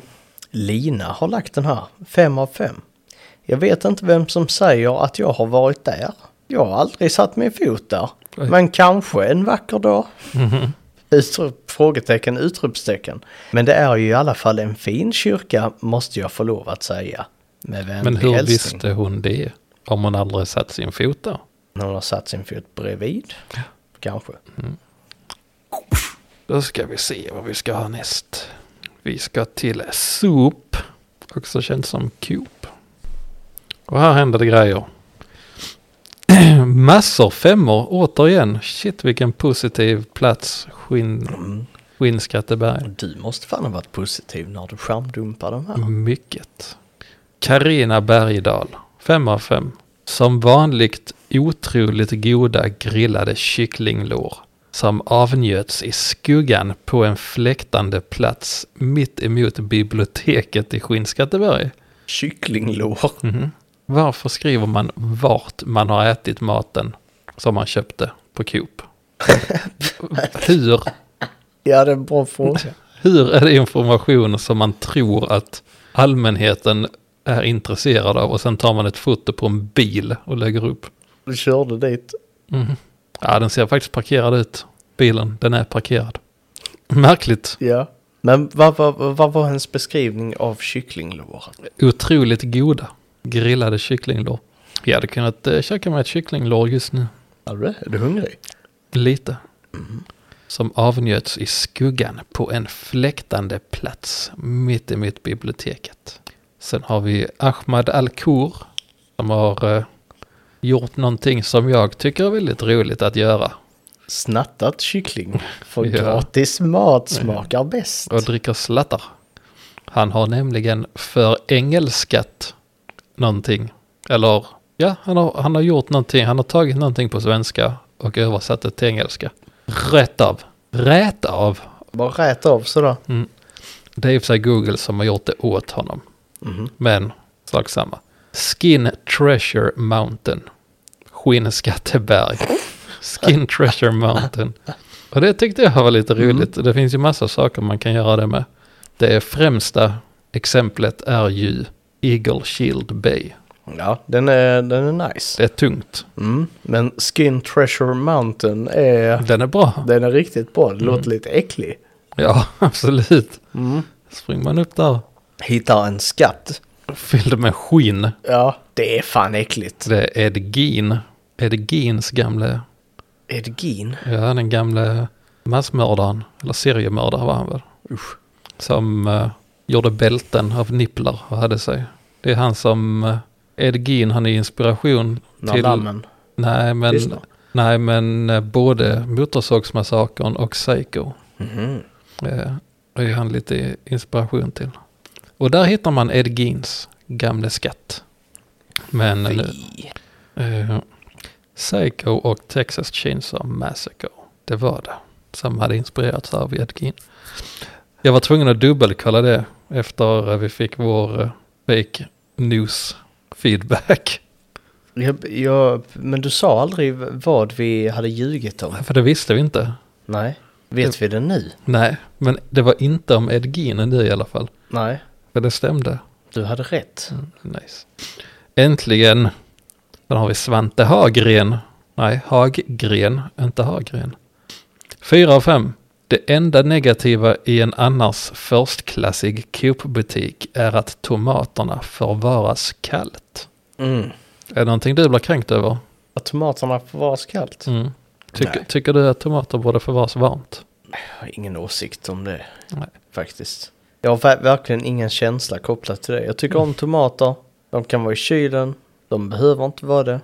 Speaker 1: Lina har lagt den här, fem av fem. Jag vet inte vem som säger att jag har varit där. Jag har aldrig satt min fot där.
Speaker 2: Oj.
Speaker 1: Men kanske en vacker dag.
Speaker 2: Mhm.
Speaker 1: Utrop, frågetecken, utropstecken. Men det är ju i alla fall en fin kyrka, måste jag få lov att säga. Med
Speaker 2: Men
Speaker 1: vänlig
Speaker 2: hur
Speaker 1: hälsning.
Speaker 2: visste hon det? Om hon aldrig satt sin fot där?
Speaker 1: Hon har satt sin fot bredvid. Kanske.
Speaker 2: Då ska vi se vad vi ska ha näst. Vi ska till Sop. Också känt som Coop. Och här händer det grejer. Massor femmor återigen. Shit vilken positiv plats. Skinn, Skinnskatteberg.
Speaker 1: Mm. Du måste fan ha varit positiv när du skärmdumpar de här.
Speaker 2: Mm. Mycket. Karina Bergdahl. fem av fem. Som vanligt otroligt goda grillade kycklinglår. Som avnjöts i skuggan på en fläktande plats mitt emot biblioteket i Skinnskatteberg.
Speaker 1: Kycklinglår.
Speaker 2: Mhm. Varför skriver man vart man har ätit maten som man köpte på Coop? Hur
Speaker 1: Ja, det är en bra fråga.
Speaker 2: Hur är det information som man tror att allmänheten är intresserad av och sen tar man ett foto på en bil och lägger upp?
Speaker 1: Du körde dit.
Speaker 2: Mhm. Ja, den ser faktiskt parkerad ut, bilen. Den är parkerad. Märkligt.
Speaker 1: Ja. Men vad, vad, vad var hans beskrivning av kycklinglår?
Speaker 2: Otroligt goda grillade kycklinglår. Jag hade kunnat eh, käka mig ett kycklinglår just nu.
Speaker 1: Är du, är du hungrig?
Speaker 2: Lite. Som avnjöts i skuggan på en fläktande plats mitt emot biblioteket. Sen har vi Ahmad Al-Khor som har eh, gjort någonting som jag tycker är väldigt roligt att göra.
Speaker 1: Snattat kyckling. För
Speaker 2: Ja.
Speaker 1: gratis mat smakar bäst.
Speaker 2: och dricker slattar. Han har nämligen för engelskat någonting. Eller ja, han har, han har gjort någonting. Han har tagit någonting på svenska och översatt det till engelska. Rätt av. Rätt av.
Speaker 1: Bara rät av sådär.
Speaker 2: Det är i och för sig Google som har gjort det åt honom.
Speaker 1: Mm-hmm.
Speaker 2: Men sak samma. Skin Treasure Mountain. Skinnskatteberg. Skin Treasure Mountain. Och det tyckte jag var lite roligt. Det finns ju massa saker man kan göra det med. Det främsta exemplet är ju Eagle Shield Bay.
Speaker 1: Ja, den är, den är nice.
Speaker 2: Det är tungt.
Speaker 1: Mm. Men Skin Treasure Mountain är...
Speaker 2: Den är bra.
Speaker 1: Den är riktigt bra. Den låter lite äcklig.
Speaker 2: Ja, absolut. Springer man upp där
Speaker 1: Hittar en skatt.
Speaker 2: fylld med skinn.
Speaker 1: Ja, det är fan äckligt.
Speaker 2: Det är Ed Gein. Ed Geins gamla
Speaker 1: Edgin.
Speaker 2: Ja, den gamle massmördaren, eller seriemördare var han väl.
Speaker 1: Usch.
Speaker 2: Som eh, gjorde bälten av nipplar och hade sig. Det är han som, uh, Ed Gein, han är inspiration
Speaker 1: Till... Dammen.
Speaker 2: nej men,
Speaker 1: Lyssna.
Speaker 2: nej men eh, både Motorsågsmassakern och Psycho.
Speaker 1: Mm-hmm.
Speaker 2: Eh, det är han lite inspiration till. Och där hittar man Ed Geins gamle skatt. Men nu,
Speaker 1: Fy.
Speaker 2: Eh, Psycho och Texas Chainsaw Massacre. Det var det. Som hade inspirerats av Ed Gein. Jag var tvungen att dubbelkolla det efter eh, vi fick vår eh, fake news feedback.
Speaker 1: Jag, jag, men du sa aldrig vad vi hade ljugit om.
Speaker 2: För det visste vi inte.
Speaker 1: Nej. Vet vi det nu?
Speaker 2: Nej, men det var inte om Ed Gein nu i alla fall.
Speaker 1: Nej.
Speaker 2: För det stämde.
Speaker 1: Du hade rätt.
Speaker 2: Mm, Nice. Äntligen. Sen har vi Svante Hagren. Nej, Haggren, inte Hagren. Fyra av fem. Det enda negativa i en annars förstklassig Coop-butik är att tomaterna förvaras kallt.
Speaker 1: Mm.
Speaker 2: Är det någonting du blir kränkt över?
Speaker 1: Att tomaterna förvaras kallt?
Speaker 2: Mm. Tycker,
Speaker 1: Nej.
Speaker 2: tycker du att tomater borde förvaras varmt?
Speaker 1: Jag har ingen åsikt om det
Speaker 2: Nej.
Speaker 1: faktiskt. Jag har ver- verkligen ingen känsla kopplat till det. Jag tycker om tomater. De kan vara i kylen. De behöver inte vara det.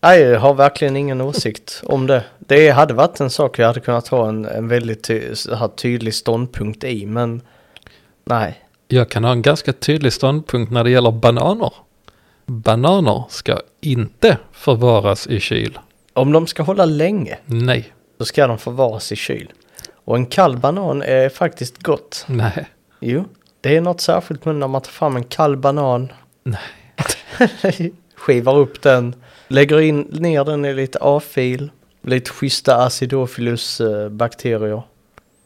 Speaker 1: Nej, jag har verkligen ingen åsikt om det. Det hade varit en sak jag hade kunnat ha en, en väldigt ty- så här tydlig ståndpunkt i, men nej.
Speaker 2: Jag kan ha en ganska tydlig ståndpunkt när det gäller bananer. Bananer ska inte förvaras i kyl.
Speaker 1: Om de ska hålla länge
Speaker 2: Nej.
Speaker 1: så ska de förvaras i kyl. Och en kall banan är faktiskt gott.
Speaker 2: Nej.
Speaker 1: Jo, det är något särskilt med när man tar fram en kall banan. Nej. Skivar upp den, lägger in, ner den i lite A-fil, lite schyssta acidophilus-bakterier.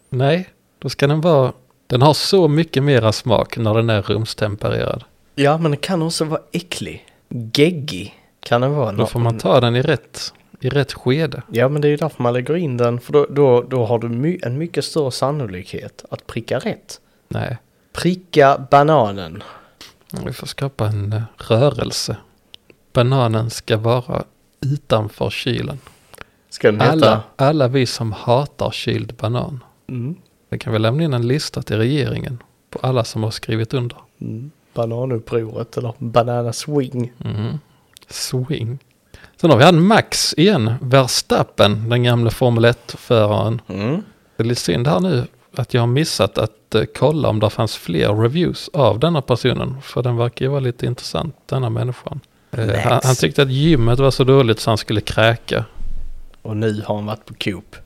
Speaker 2: Nej, då ska den vara... Den har så mycket mera smak när den är rumstempererad.
Speaker 1: Ja, men den kan också vara äcklig. Geggig kan den vara.
Speaker 2: Då får man ta den i rätt, i rätt skede.
Speaker 1: Ja, men det är ju därför man lägger in den, för då, då, då har du my- en mycket större sannolikhet att pricka rätt.
Speaker 2: Nej,
Speaker 1: Pricka bananen.
Speaker 2: vi får skapa en eh, rörelse. Bananen ska vara utanför kylen.
Speaker 1: Ska den heta?
Speaker 2: Alla, alla vi som hatar kyld banan.
Speaker 1: Mm.
Speaker 2: Det kan vi lämna in en lista till regeringen på alla som har skrivit under.
Speaker 1: Mm. Bananupproret eller Banana Swing.
Speaker 2: Mhm. Swing. Sen har vi han Max igen, Verstappen, den gamla Formel 1-föraren.
Speaker 1: Mm.
Speaker 2: Det är lite synd här nu att jag har missat att eh, kolla om det fanns fler reviews av denna personen. För den verkar ju vara lite intressant, denna människan. Eh,
Speaker 1: Max.
Speaker 2: han, han tyckte att gymmet var så dåligt så han skulle kräka.
Speaker 1: Och nu har han varit på Coop.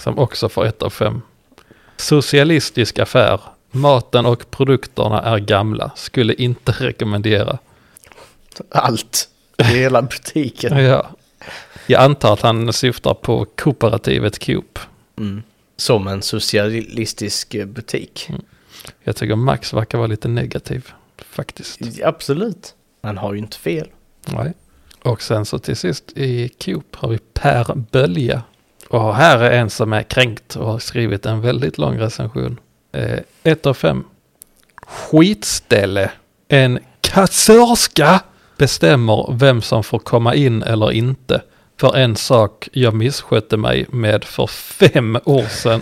Speaker 2: Som också får ett av fem. Socialistisk affär. Maten och produkterna är gamla. Skulle inte rekommendera.
Speaker 1: Allt. I hela butiken.
Speaker 2: Ja. Jag antar att han syftar på kooperativet Coop.
Speaker 1: Mm. Som en socialistisk eh, butik.
Speaker 2: Jag tycker Max verkar vara lite negativ. Faktiskt.
Speaker 1: Absolut. Han har ju inte fel.
Speaker 2: Nej. Och sen så till sist i Coop har vi Per Bölja. Och här är en som är kränkt och har skrivit en väldigt lång recension. Eh, ett av fem. Skitställe. En kassörska bestämmer vem som får komma in eller inte. För en sak jag misskötte mig med för fem år sedan.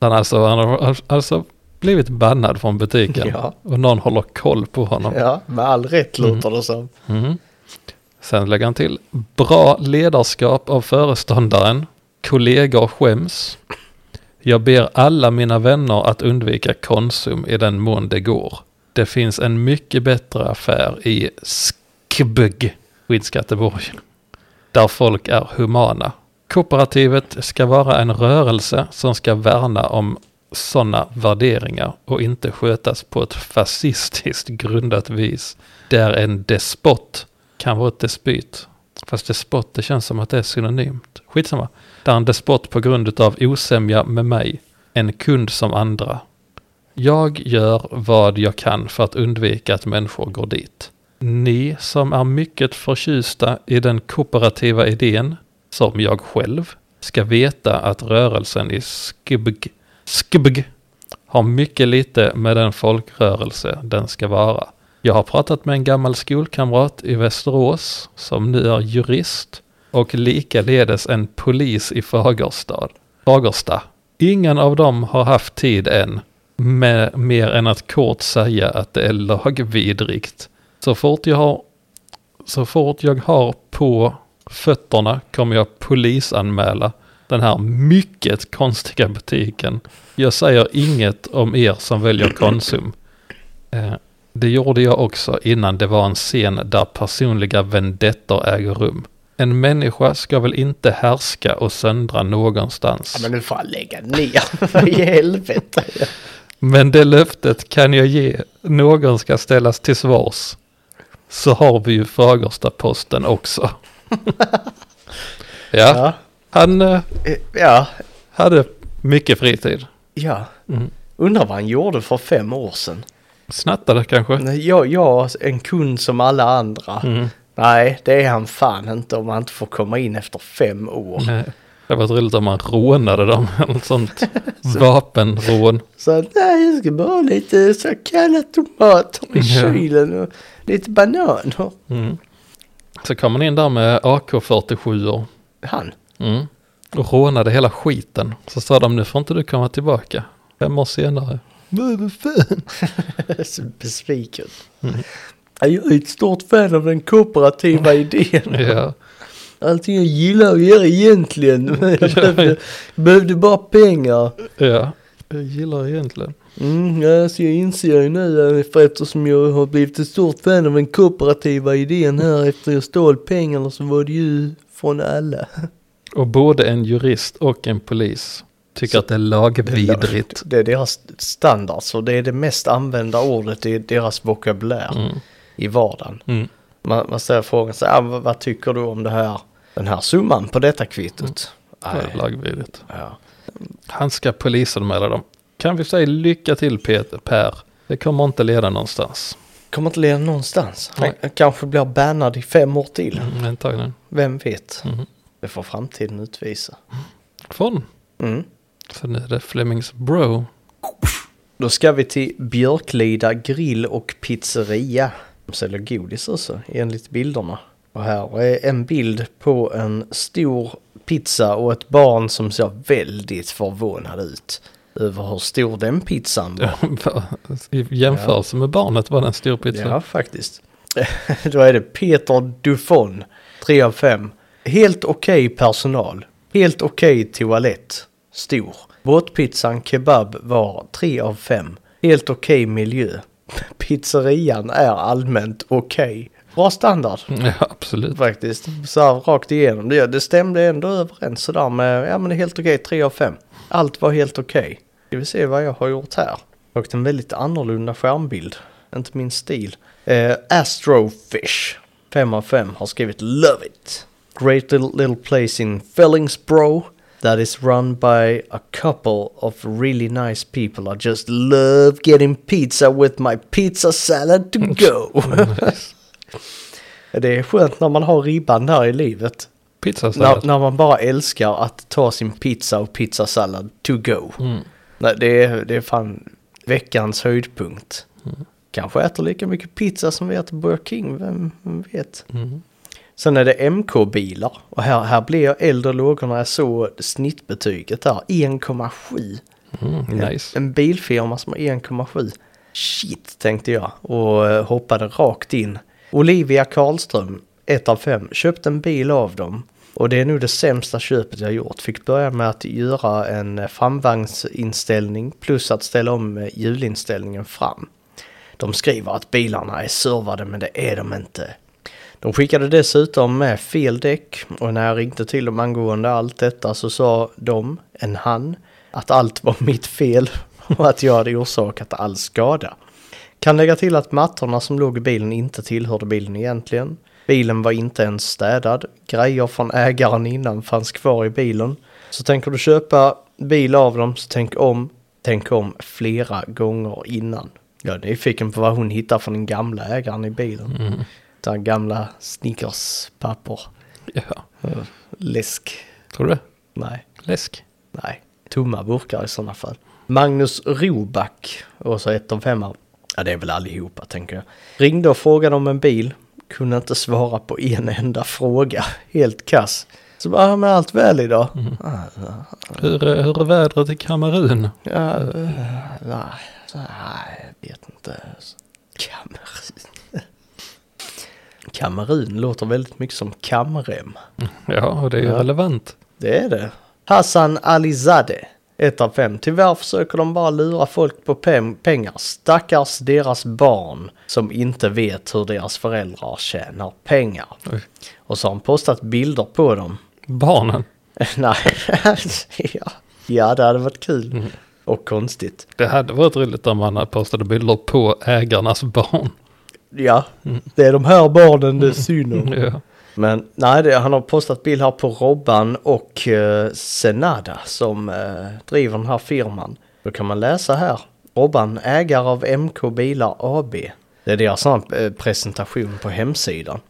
Speaker 2: Han, alltså, han har alltså blivit bannad från butiken.
Speaker 1: Ja.
Speaker 2: Och någon håller koll på honom.
Speaker 1: Ja, med all rätt låter det som.
Speaker 2: Mm. Sen lägger han till bra ledarskap av föreståndaren. Kollegor skäms. Jag ber alla mina vänner att undvika Konsum i den mån det går. Det finns en mycket bättre affär i Skbygg vid Skatteborg. Där folk är humana. Kooperativet ska vara en rörelse som ska värna om sådana värderingar och inte skötas på ett fascistiskt grundat vis. Där en despot kan vara ett despyt. Fast despot, det känns som att det är synonymt. Skitsamma. Där en despot på grund av osämja med mig. En kund som andra. Jag gör vad jag kan för att undvika att människor går dit. Ni som är mycket förtjusta i den kooperativa idén, som jag själv, ska veta att rörelsen i Skbg, Skbg har mycket lite med den folkrörelse den ska vara. Jag har pratat med en gammal skolkamrat i Västerås som nu är jurist och likaledes en polis i Fagerstad. Fagersta. Ingen av dem har haft tid än, med, mer än att kort säga att det är lagvidrigt. Så fort jag har, så fort jag har på fötterna kommer jag polisanmäla den här mycket konstiga butiken. Jag säger inget om er som väljer Konsum. Eh, det gjorde jag också innan det var en scen där personliga vendettor äger rum. En människa ska väl inte härska och söndra någonstans.
Speaker 1: Ja, men nu får han lägga ner. Vad i helvete.
Speaker 2: Men det löftet kan jag ge. Någon ska ställas till svars. Så har vi ju Fagersta-posten också. ja,
Speaker 1: Ja.
Speaker 2: han eh,
Speaker 1: Eh, Ja.
Speaker 2: hade mycket fritid.
Speaker 1: ja.
Speaker 2: Mm.
Speaker 1: Undrar vad han gjorde för fem år sedan.
Speaker 2: Snattade kanske.
Speaker 1: Nej, Jag, jag en kund som alla andra.
Speaker 2: Mm.
Speaker 1: Nej, det är han fan inte om han inte får komma in efter fem år.
Speaker 2: Nej. Eh, Det var roligt om man rånade dem. eller Något sånt vapenrån.
Speaker 1: Så att, nej, jag ska bara ha lite så kalla tomater i
Speaker 2: Ja.
Speaker 1: kylen och lite bananer.
Speaker 2: Mm. Så kom han in där med AK47 or
Speaker 1: Han.
Speaker 2: mm. och rånade hela skiten. Så sa de nu får inte du komma tillbaka. Fem år senare. "Nej, Vad fan.
Speaker 1: så besviken. Jag är ett stort fan av den kooperativa idén.
Speaker 2: Ja.
Speaker 1: Allting jag gillar att göra egentligen. Jag behövde, behövde bara pengar.
Speaker 2: Ja, jag gillar egentligen.
Speaker 1: Mm, ja, så jag inser ju nu eh, för eftersom jag har blivit ett stort fan av den kooperativa idén här efter jag stal pengarna så var det ju från alla.
Speaker 2: Och både en jurist och en polis tycker att det är lagvidrigt.
Speaker 1: Det är deras standard, så det är det mest använda ordet i deras vokabulär
Speaker 2: Mm.
Speaker 1: i vardagen.
Speaker 2: Mm.
Speaker 1: Man, man ställer frågan så här, ah, vad, vad tycker du om det här, den här summan på detta kvittot?
Speaker 2: Det är lagvidrigt.
Speaker 1: Ja.
Speaker 2: Han ska polisanmäla dem. Kan vi säga lycka till Peter, Per. Det kommer inte leda någonstans.
Speaker 1: Kommer inte leda någonstans. Han
Speaker 2: Nej.
Speaker 1: kanske blir bannad i fem år till.
Speaker 2: Mm, antagligen.
Speaker 1: Vem vet?
Speaker 2: Mm.
Speaker 1: Det får framtiden utvisa.
Speaker 2: Från.
Speaker 1: Mm.
Speaker 2: Så nu är det Flemings bro.
Speaker 1: Då ska vi till Björklida grill och pizzeria. De säljer godis också enligt bilderna. Och här är en bild på en stor pizza och ett barn som ser väldigt förvånad ut över hur stor den pizzan var.
Speaker 2: I jämförelse med barnet var det en stor pizza.
Speaker 1: Ja, faktiskt. Då är det Peter Dufon, 3 av 5. Helt okej personal. Helt okej toalett. Stor. Båtpizzan kebab var 3 av 5. Helt okej miljö. Pizzerian är allmänt okej. Bra standard
Speaker 2: Ja, absolut.
Speaker 1: faktiskt. Så här rakt igenom. Det, det stämde ändå överens sådär med, ja men det är helt okej, 3 av 5. Allt var helt okej. Ska vi se vad jag har gjort här. Och en väldigt annorlunda skärmbild. Inte min stil. Eh, Astrofish, 5 av 5, har skrivit Love it. Great little, little place in Fellingsbro. That is run by a couple of really nice people. I just love getting pizza with my pizza salad to go. Det är skönt när man har ribban där i livet.
Speaker 2: Pizzasallad.
Speaker 1: När, när man bara älskar att ta sin pizza och pizzasallad to go.
Speaker 2: Mm.
Speaker 1: Nej, det är, det är fan veckans höjdpunkt. Kanske äter lika mycket pizza som vi äter Burger King, vem, vem vet?
Speaker 2: Mm.
Speaker 1: Sen är det MK-bilar och här, här blir jag äldre och låg när jag såg snittbetyget där, 1,7.
Speaker 2: Mm, nice.
Speaker 1: En bilfirma som har 1,7. Shit, tänkte jag och eh, hoppade rakt in. Olivia Karlström, 1 av 5, köpte en bil av dem. Och det är nog det sämsta köpet jag gjort. Fick börja med att göra en eh, framvagnsinställning plus att ställa om eh, hjulinställningen fram. De skriver att bilarna är servade men det är de inte. De skickade dessutom med fel däck och när jag ringde till dem angående allt detta så sa de, en han, att allt var mitt fel och att jag hade orsakat all skada. Kan lägga till att mattorna som låg i bilen inte tillhörde bilen egentligen. Bilen var inte ens städad. Grejer från ägaren innan fanns kvar i bilen. Så tänker du köpa bil av dem så tänk om, tänk om flera gånger innan. Jag är nyfiken på vad hon hittar från den gamla ägaren i bilen.
Speaker 2: Mm.
Speaker 1: Den gamla snickerspapper.
Speaker 2: Ja.
Speaker 1: Läsk.
Speaker 2: Tror du det?
Speaker 1: Nej.
Speaker 2: Läsk?
Speaker 1: Nej, tomma burkar i sådana fall. Magnus Roback, och så ett av femma. Ja, det är väl allihopa tänker jag. Ringde och frågade om en bil. Kunde inte svara på en enda fråga. Helt kass. Så bara, ja, men allt väl idag? Ah,
Speaker 2: Hur, är- hur är vädret i Kamerun?
Speaker 1: ja, eh, nej, nej, jag vet inte. Kamerun. Kamerun låter väldigt mycket som Kamrem.
Speaker 2: Ja, och det är ju
Speaker 1: Ja.
Speaker 2: relevant.
Speaker 1: Det är det. Hassan Alizadeh. 1 av 5. Tyvärr försöker de bara lura folk på pem- pengar. Stackars deras barn som inte vet hur deras föräldrar tjänar pengar.
Speaker 2: Oj.
Speaker 1: Och så har han postat bilder på dem.
Speaker 2: Barnen.
Speaker 1: Nej, ja. ja det hade varit kul. Och konstigt.
Speaker 2: Det hade varit roligt om man postade bilder på ägarnas barn.
Speaker 1: Ja, det är de här barnen det är synd om.
Speaker 2: Ja.
Speaker 1: Men nej, det, han har postat bild här på Robban och eh, Senada som eh, driver den här firman. Då kan man läsa här. Robban, ägare av MK Bilar AB. Det är deras sån, eh, presentation på hemsidan.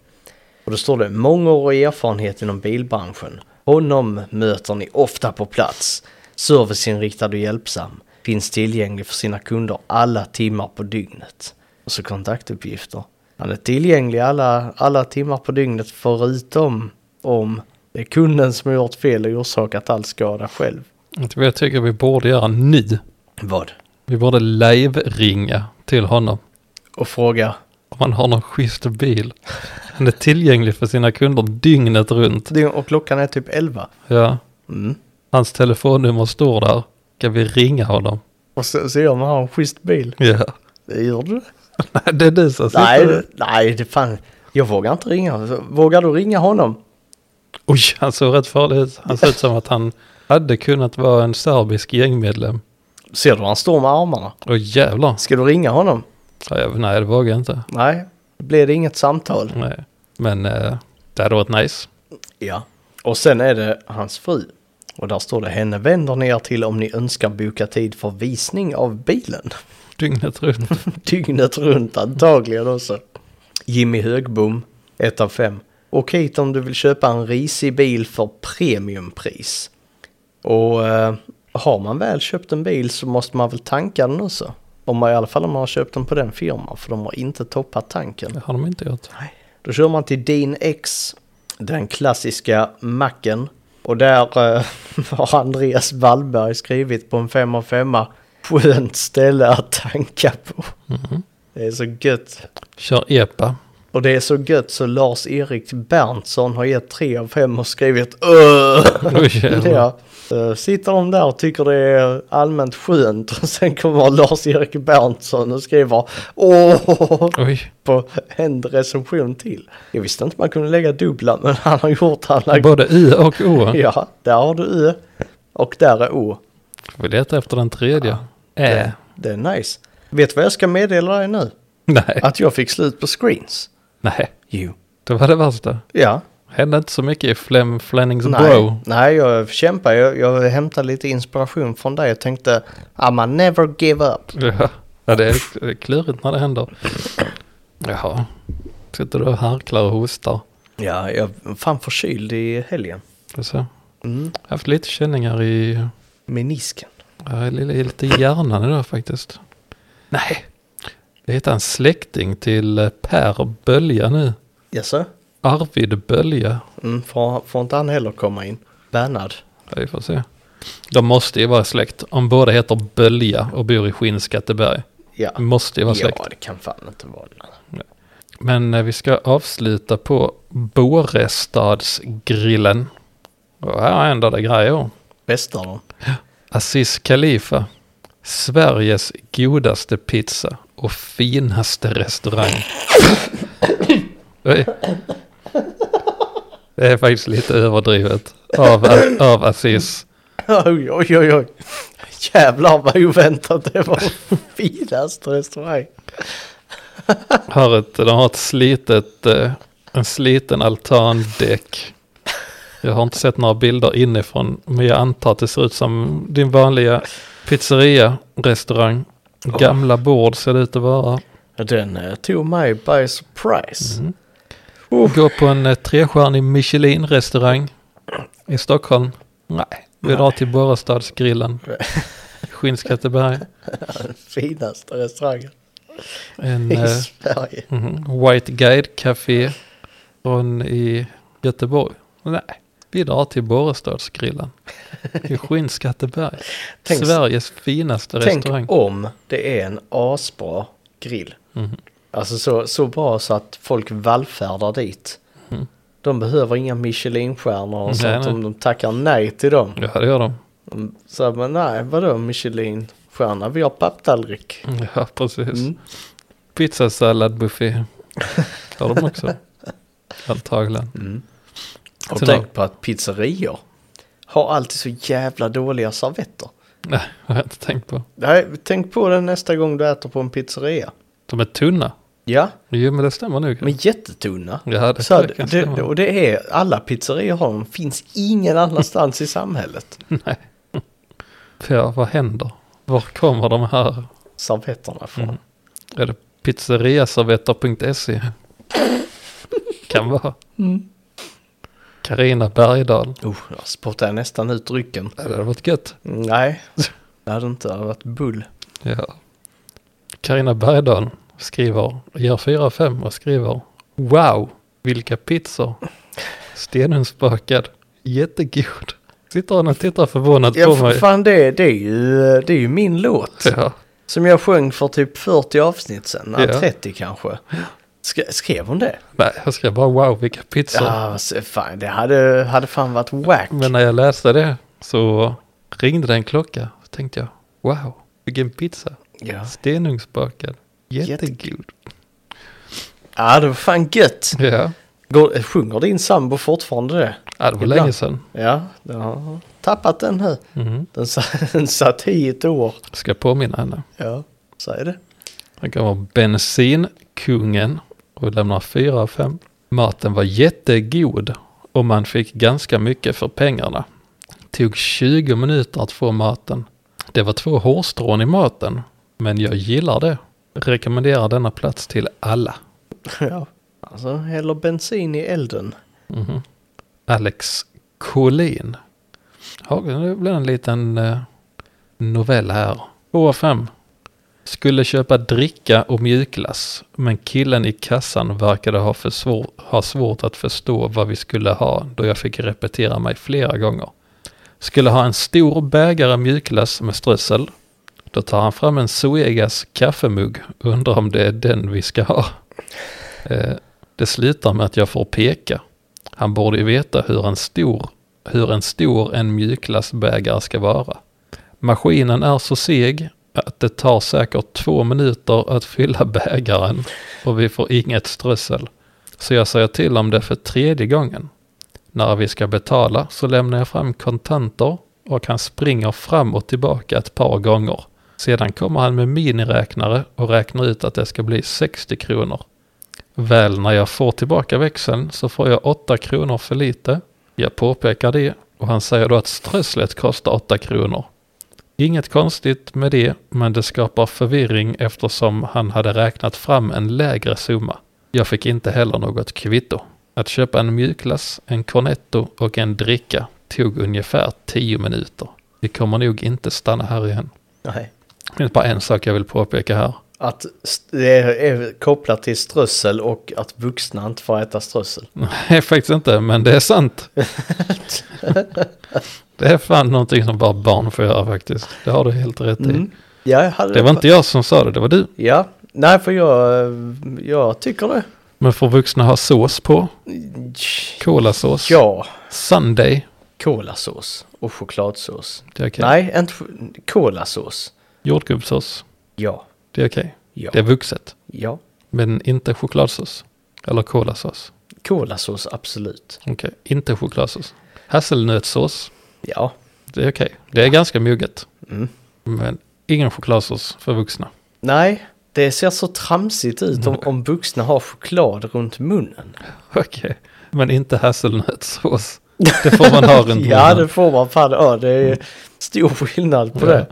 Speaker 1: Och då står det mångårig erfarenhet inom bilbranschen. Honom möter ni ofta på plats. Serviceinriktad och hjälpsam. Finns tillgänglig för sina kunder alla timmar på dygnet. Och så kontaktuppgifter. Han är tillgänglig alla, alla timmar på dygnet förutom om det är kunden som har gjort fel och orsakat all skada själv.
Speaker 2: Vet du vad jag tycker vi borde göra nu?
Speaker 1: Vad?
Speaker 2: Vi borde live-ringa till honom.
Speaker 1: Och fråga.
Speaker 2: Om han har någon schysst bil. Han är tillgänglig för sina kunder dygnet runt.
Speaker 1: Och klockan är typ 11.
Speaker 2: Ja.
Speaker 1: Mm.
Speaker 2: Hans telefonnummer står där. Kan vi ringa honom?
Speaker 1: Och så ser man har en schysst bil.
Speaker 2: Ja.
Speaker 1: Det gör du.
Speaker 2: Nej, det är du som sitter
Speaker 1: Nej,
Speaker 2: där.
Speaker 1: det- nej, det fan. Jag vågar inte ringa. Vågar du ringa honom?
Speaker 2: Oj, han såg rätt farlig ut. Han såg ut som att han hade kunnat vara en serbisk gängmedlem.
Speaker 1: Ser du hur han står med armarna?
Speaker 2: Åh jävlar.
Speaker 1: Ska du ringa honom?
Speaker 2: Ja, jag- Nej, det vågar jag inte.
Speaker 1: Nej, då blir det inget samtal.
Speaker 2: Nej. Men eh, det hade varit nice.
Speaker 1: Ja. Och sen är det hans fru. Och där står det henne vänder ni er till om ni önskar boka tid för visning av bilen.
Speaker 2: Dygnet runt.
Speaker 1: Dygnet runt antagligen också. Jimmy Högbom, 1 av 5. Åk hit om du vill köpa en risig bil för premiumpris. Och eh, har man väl köpt en bil så måste man väl tanka den också. Om man, I alla fall om man har köpt den på den firman för de har inte toppat tanken.
Speaker 2: Det har de inte gjort.
Speaker 1: Då kör man till Din X, den klassiska macken. Och där eh, har Andreas Wallberg skrivit på en 5 av 5 skönt ställe att tanka på.
Speaker 2: Mm-hmm.
Speaker 1: Det är så gött.
Speaker 2: Kör E EPA.
Speaker 1: Och det är så gött så Lars-Erik Berntsson har gett 3 av 5 och skrivit "Öh".
Speaker 2: Oj, jävlar.
Speaker 1: Ja, eh, sitter de där och tycker det är allmänt skönt och sen kommer Lars-Erik Berntsson och skriver åh
Speaker 2: Oj.
Speaker 1: på en recension till. Jag visste inte man kunde lägga dubbla, men han har gjort alla
Speaker 2: Både I och O.
Speaker 1: Ja, där har du Ö och där är O.
Speaker 2: Vi letar efter den tredje. Eh. Ä.
Speaker 1: Det, det är nice. Vet du vad jag ska meddela dig nu?
Speaker 2: Nej.
Speaker 1: Att jag fick slut på screens.
Speaker 2: Nej.
Speaker 1: Jo.
Speaker 2: Det var det värsta.
Speaker 1: Ja.
Speaker 2: Hände inte så mycket i Flem Flennings
Speaker 1: Nej,
Speaker 2: bro.
Speaker 1: nej, jag kämpar. Jag, jag hämtade lite inspiration från dig. Jag tänkte, I'ma never give up.
Speaker 2: Ja. ja, det är det är klurigt när det händer. Jaha. Sitter du och harklar och hostar.
Speaker 1: Ja, jag var fan förkyld i helgen.
Speaker 2: Du ser.
Speaker 1: Mm.
Speaker 2: Jag har haft lite känningar i...
Speaker 1: Menisken.
Speaker 2: Jag är lite är lite i hjärnan idag faktiskt. Nej, jag hittade en släkting till eh, Per Bölja nu.
Speaker 1: Jaså?
Speaker 2: Arvid Bölja.
Speaker 1: Mm, får, får inte han heller komma in? Bernhard?
Speaker 2: Ja, vi får se. De måste ju vara släkt. Om båda heter Bölja och bor i Skinnskatteberg.
Speaker 1: Ja.
Speaker 2: Måste ju vara släkt.
Speaker 1: Ja, det kan fan inte vara det.
Speaker 2: Men eh, vi ska avsluta på Borestadsgrillen. Och här händer det grejer.
Speaker 1: Bästa då?
Speaker 2: Aziz Khalifa. Sveriges godaste pizza och finaste restaurang. Oj. Det är faktiskt lite överdrivet av, av Aziz.
Speaker 1: Oj, oj, oj, oj. Jävlar vad oväntat det var. Finaste restaurang.
Speaker 2: Har ett, de har ett slitet, eh, en sliten altandäck. Jag har inte sett några bilder inifrån, men jag antar att det ser ut som din vanliga pizzeria-restaurang. Gamla bord ser det ut att vara.
Speaker 1: Den eh, tog mig by surprise.
Speaker 2: Mm. Gå på en eh, trestjärnig Michelin-restaurang i Stockholm. Nej, vi drar till Borrestadsgrillen. Skinnskatteberg.
Speaker 1: Den finaste restaurangen
Speaker 2: En,
Speaker 1: i
Speaker 2: eh,
Speaker 1: Sverige.
Speaker 2: Mhm. White Guide Café från i Göteborg. Nej, vi drar till Borrestadsgrillen i Skinnskatteberg.
Speaker 1: Tänk-
Speaker 2: Sveriges finaste
Speaker 1: Tänk
Speaker 2: restaurang.
Speaker 1: om det är en asbra grill.
Speaker 2: Mhm.
Speaker 1: Alltså så, så bra så att folk vallfärdar dit.
Speaker 2: Mhm.
Speaker 1: De behöver inga Michelinstjärnor och
Speaker 2: Nej,
Speaker 1: sånt
Speaker 2: nej.
Speaker 1: om de tackar nej till dem.
Speaker 2: Ja, det gör de.
Speaker 1: De säger men nej, vadå Michelinstjärna? Vi har papptallrik.
Speaker 2: Ja, precis.
Speaker 1: Mm.
Speaker 2: Pizzasalladbuffé har de också. Antagligen.
Speaker 1: Och
Speaker 2: Mm. Sen
Speaker 1: tänk på att pizzerior har alltid så jävla dåliga servetter.
Speaker 2: Nej, det har jag inte tänkt på.
Speaker 1: Nej, tänk på det nästa gång du äter på en pizzeria.
Speaker 2: De är tunna.
Speaker 1: Ja,
Speaker 2: Jo, men det stämmer nog.
Speaker 1: men jättetunna.
Speaker 2: ja,
Speaker 1: Så
Speaker 2: det, så
Speaker 1: att
Speaker 2: kan
Speaker 1: det,
Speaker 2: stämma.
Speaker 1: och det är, alla pizzerior har dem, finns ingen annanstans i samhället.
Speaker 2: Nej. Ja, vad händer? Var kommer de här?
Speaker 1: Servetterna från.
Speaker 2: Mm. Är det pizzeriaservetter.se? E? Kan vara.
Speaker 1: Mm.
Speaker 2: Karina Bergdahl.
Speaker 1: Oh, jag spottade nästan ut drycken.
Speaker 2: Ja, Det hade varit gött.
Speaker 1: Nej, det hade inte det hade varit bull.
Speaker 2: Ja. Karina Bergdahl skriver, gör 4 av 5 och skriver Wow, vilka pizzor. Stenugnsbakad, jättegod. Sitter han och tittar förvånat
Speaker 1: Ja,
Speaker 2: på
Speaker 1: för
Speaker 2: mig.
Speaker 1: fan det, det, är ju, det är ju min låt.
Speaker 2: Ja,
Speaker 1: Som jag sjöng för typ 40 avsnitt sen,
Speaker 2: Ja.
Speaker 1: 30 kanske. Sk- skrev hon det?
Speaker 2: nej, jag skrev bara wow, vilka pizzor.
Speaker 1: Ja, så fan, det hade, hade fan varit wack.
Speaker 2: Men när jag läste det så ringde det en klocka. Så tänkte jag, wow, vilken pizza.
Speaker 1: Ja.
Speaker 2: Stenugnsbakad.
Speaker 1: Jättegod.
Speaker 2: Jättegod.
Speaker 1: ja, det var fan gött.
Speaker 2: Ja,
Speaker 1: Går, sjunger din sambo fortfarande det?
Speaker 2: ja det var
Speaker 1: Ibland.
Speaker 2: länge sedan.
Speaker 1: Ja, den har tappat den nu.
Speaker 2: Mhm.
Speaker 1: Den, sa- den satt i ett år.
Speaker 2: Ska påminna henne.
Speaker 1: Ja, så är det.
Speaker 2: Han kommer bensinkungen och lämnar fyra av fem. Maten var jättegod och man fick ganska mycket för pengarna. Tog 20 minuter att få maten. Det var två hårstrån i maten, men jag gillar det. Rekommenderar denna plats till alla.
Speaker 1: Ja. Alltså, häller bensin i elden.
Speaker 2: Mhm. Alex Collin. Ja, nu blir det en liten eh, novell här. 2 av 5. Skulle köpa dricka och mjukglass, men killen i kassan verkade ha, för svår, ha svårt att förstå vad vi skulle ha då jag fick repetera mig flera gånger. Skulle ha en stor bägare mjukglass med strössel. Då tar han fram en Zoegas kaffemugg och undrar om det är den vi ska ha. Eh, det slutar med att jag får peka. Han borde ju veta hur en stor, hur en, stor en mjukglassbägare ska vara. Maskinen är så seg att det tar säkert två minuter att fylla bägaren och vi får inget strössel. Så jag säger till om det för tredje gången. När vi ska betala så lämnar jag fram kontanter och han springer fram och tillbaka ett par gånger. Sedan kommer han med miniräknare och räknar ut att det ska bli 60 kronor. Väl när jag får tillbaka växeln så får jag 8 kronor för lite. Jag påpekar det och han säger då att strösslet kostar 8 kronor. Inget konstigt med det, men det skapar förvirring eftersom han hade räknat fram en lägre summa. Jag fick inte heller något kvitto. Att köpa en mjukglass, en cornetto och en dricka tog ungefär 10 minuter. Vi kommer nog inte stanna här igen.
Speaker 1: Nej.
Speaker 2: Det finns bara en sak jag vill påpeka här.
Speaker 1: Att st- det är kopplat till strössel och att vuxna inte får äta strössel.
Speaker 2: Nej, faktiskt inte, men det är sant. det är fan någonting som bara barn får göra faktiskt. Det har du helt rätt i.
Speaker 1: Mm. Ja, jag hade
Speaker 2: Det var inte jag som sa det, det var du.
Speaker 1: Ja, nej för jag, jag tycker det.
Speaker 2: Men får vuxna ha sås på? Kolasås?
Speaker 1: Ja,
Speaker 2: Sunday?
Speaker 1: kolasås och chokladsås.
Speaker 2: Det är okej.
Speaker 1: Nej, inte ch- kolasås.
Speaker 2: Jordgubbssås?
Speaker 1: Ja,
Speaker 2: Det är okej.
Speaker 1: ja,
Speaker 2: Det är vuxet.
Speaker 1: ja.
Speaker 2: Men inte chokladsås? Eller kolasås?
Speaker 1: Kolasås, absolut.
Speaker 2: Okej, inte chokladsås. Hasselnötssås?
Speaker 1: Ja,
Speaker 2: Det är okej. Det är ganska moget.
Speaker 1: Mm.
Speaker 2: Men ingen chokladsås för vuxna.
Speaker 1: nej, det ser så tramsigt ut
Speaker 2: Mm.
Speaker 1: om, om vuxna har choklad runt munnen.
Speaker 2: Okej, men inte hasselnötssås. Det får man ha runt
Speaker 1: Ja,
Speaker 2: munnen. Mm.
Speaker 1: det får man fan. Ja, det är stor skillnad på
Speaker 2: Ja.
Speaker 1: det.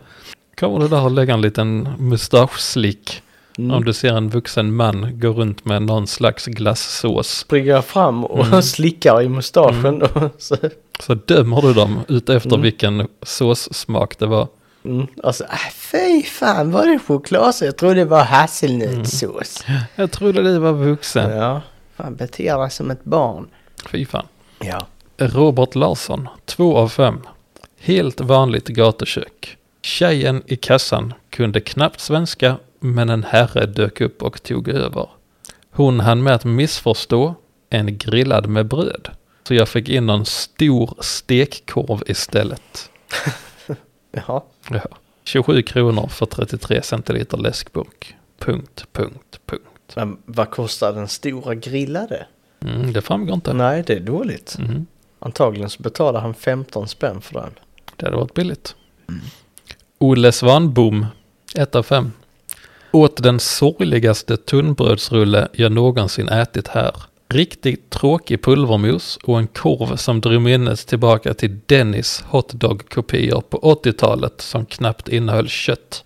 Speaker 2: Kommer du där och lägga en liten mustaschslick om
Speaker 1: Mm.
Speaker 2: du ser en vuxen man gå runt med någon slags glassås.
Speaker 1: Springer fram och
Speaker 2: Mm.
Speaker 1: slickar i mustaschen. Och så,
Speaker 2: Så dömer du dem utefter
Speaker 1: Mm.
Speaker 2: vilken såssmak det var.
Speaker 1: mm. Alltså, äh, fy fan var det chokladsås? Jag trodde det var hasselnötssås.
Speaker 2: Jag trodde du var vuxen.
Speaker 1: Ja, fan beter dig som ett barn.
Speaker 2: Fy fan.
Speaker 1: Ja.
Speaker 2: Robert Larsson, 2 av 5. Helt vanligt gatukök. Tjejen i kassan kunde knappt svenska, men en herre dök upp och tog över. Hon hann med att missförstå en grillad med bröd. Så jag fick in en stor stekkorv istället.
Speaker 1: Jaha.
Speaker 2: Ja. 27 kronor för 33 centiliter läskburk. Punkt, punkt, punkt.
Speaker 1: Men vad kostar den stora grillade?
Speaker 2: Mm, det framgår inte.
Speaker 1: Nej, det är dåligt.
Speaker 2: Mm,
Speaker 1: Antagligen så betalar han 15 spänn för den.
Speaker 2: det hade varit billigt. Olle Svanbom, 1 av 5. Åt den sorgligaste tunnbrödsrulle jag någonsin ätit här. Riktigt tråkig pulvermos och en korv som drog minnes tillbaka till Dennis hotdog-kopior på 80-talet som knappt innehöll kött.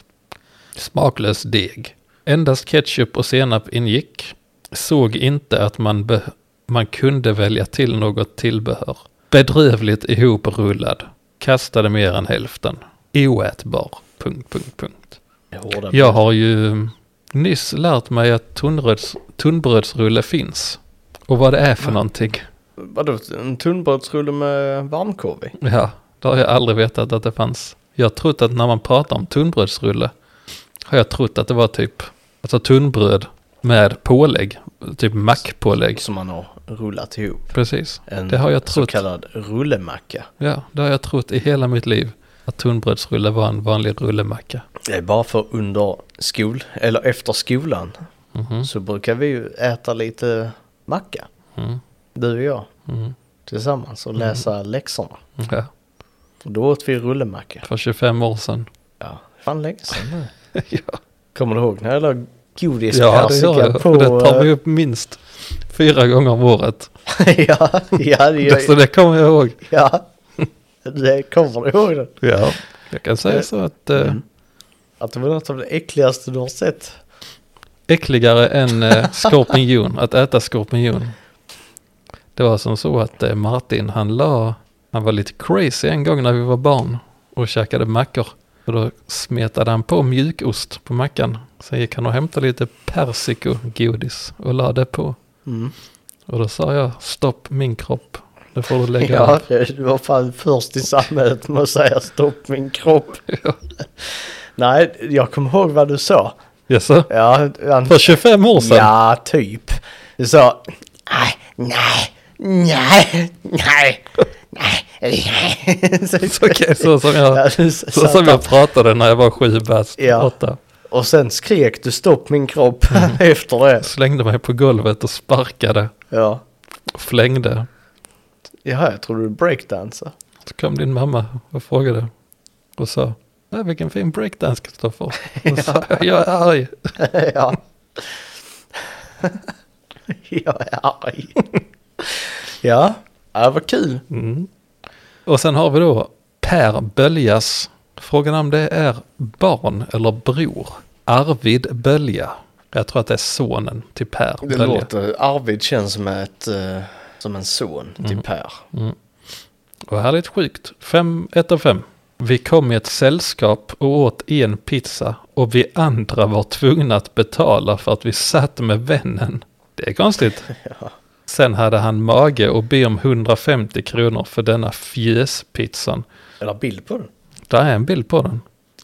Speaker 2: Smaklös deg. Endast ketchup och senap ingick. Såg inte att man, be- man kunde välja till något tillbehör. Bedrövligt ihoprullad. Kastade mer än hälften. Oätbar. Punkt, punkt, punkt.
Speaker 1: Det är hårda
Speaker 2: Jag har ju nyss lärt mig att tunnbröds, tunnbrödsrulle finns. Och vad det är för någonting.
Speaker 1: Vadå, en tunnbrödsrulle med varmkorv i?
Speaker 2: Ja, det har jag aldrig vetat att det fanns. Jag har trott att när man pratar om tunnbrödsrulle har jag trott att det var typ alltså tunnbröd med pålägg, typ mackpålägg.
Speaker 1: Som man har rullat ihop.
Speaker 2: Precis,
Speaker 1: En
Speaker 2: det har jag
Speaker 1: så
Speaker 2: trott.
Speaker 1: kallad rullemacka.
Speaker 2: Ja, det har jag trott i hela mitt liv. Att tunnbrödsrulle var en vanlig rullemacka.
Speaker 1: Det är bara för under skol, eller efter skolan.
Speaker 2: Mhm,
Speaker 1: Så brukar vi ju äta lite macka,
Speaker 2: mm,
Speaker 1: du och jag,
Speaker 2: mm,
Speaker 1: tillsammans och läsa läxorna.
Speaker 2: ja.
Speaker 1: Och då åt vi rullemacka.
Speaker 2: För 25 år sedan.
Speaker 1: Ja, fan länge sedan nu.
Speaker 2: ja,
Speaker 1: Kommer du ihåg när jag la
Speaker 2: ja, det
Speaker 1: godispersika
Speaker 2: gör jag.
Speaker 1: på...
Speaker 2: Och det tar vi
Speaker 1: eh,
Speaker 2: upp minst fyra gånger om året.
Speaker 1: ja, ja, det gör
Speaker 2: Så det kommer jag ihåg.
Speaker 1: Ja, det kommer du ihåg det?
Speaker 2: Ja, jag kan säga så att... eh,
Speaker 1: mm. Att det var något av det äckligaste du har sett.
Speaker 2: äckligare än eh, skorpion, att äta skorpion. Det var som så att eh, Martin, han, la, han var lite crazy en gång när vi var barn och käkade mackor. Och då smetade han på mjukost på mackan. Sen gick han och hämtade lite persikogodis och la det på.
Speaker 1: Mm.
Speaker 2: Och då sa jag, stopp min kropp, det får du lägga
Speaker 1: Ja,
Speaker 2: av."
Speaker 1: det du var fan först i samhället med att säga stopp min kropp. Nej, jag kommer ihåg vad du sa.
Speaker 2: Jaså?
Speaker 1: Ja, han,
Speaker 2: För 25 år sedan?
Speaker 1: ja typ. Du sa, nej, nej, nej, nej, nej, nej.
Speaker 2: Så, okej, så som
Speaker 1: Ja,
Speaker 2: jag,
Speaker 1: du
Speaker 2: så
Speaker 1: satt
Speaker 2: som
Speaker 1: där.
Speaker 2: jag pratade när jag var sju bast,
Speaker 1: Ja.
Speaker 2: åtta.
Speaker 1: Och sen skrek du stopp min kropp
Speaker 2: Mm.
Speaker 1: efter det.
Speaker 2: Slängde mig på golvet och sparkade.
Speaker 1: Ja.
Speaker 2: flängde.
Speaker 1: Jaha, jag trodde du breakdansade.
Speaker 2: Så kom din mamma och frågade och sa, "Äh, vilken fin breakdance Kristoffer. Och sa, jag, jag är arg.
Speaker 1: ja. jag är arg. ja. ja, vad kul.
Speaker 2: Mm. Och sen har vi då Per Böljas. Frågan om det är barn eller bror. Arvid Bölja. Jag tror att det är sonen till Per
Speaker 1: Det
Speaker 2: Bölja.
Speaker 1: låter, Arvid känns som, ett, eh,
Speaker 2: Mm.
Speaker 1: som en son typ till Per.
Speaker 2: Och härligt sjukt. Fem, ett av fem. Vi kom i ett sällskap och åt en pizza och vi andra var tvungna att betala för att vi satt med vännen. Det är konstigt. Sen hade han mage och be om 150 kronor för denna fjöspizzan.
Speaker 1: Eller bild på den.
Speaker 2: Där är en bild på den.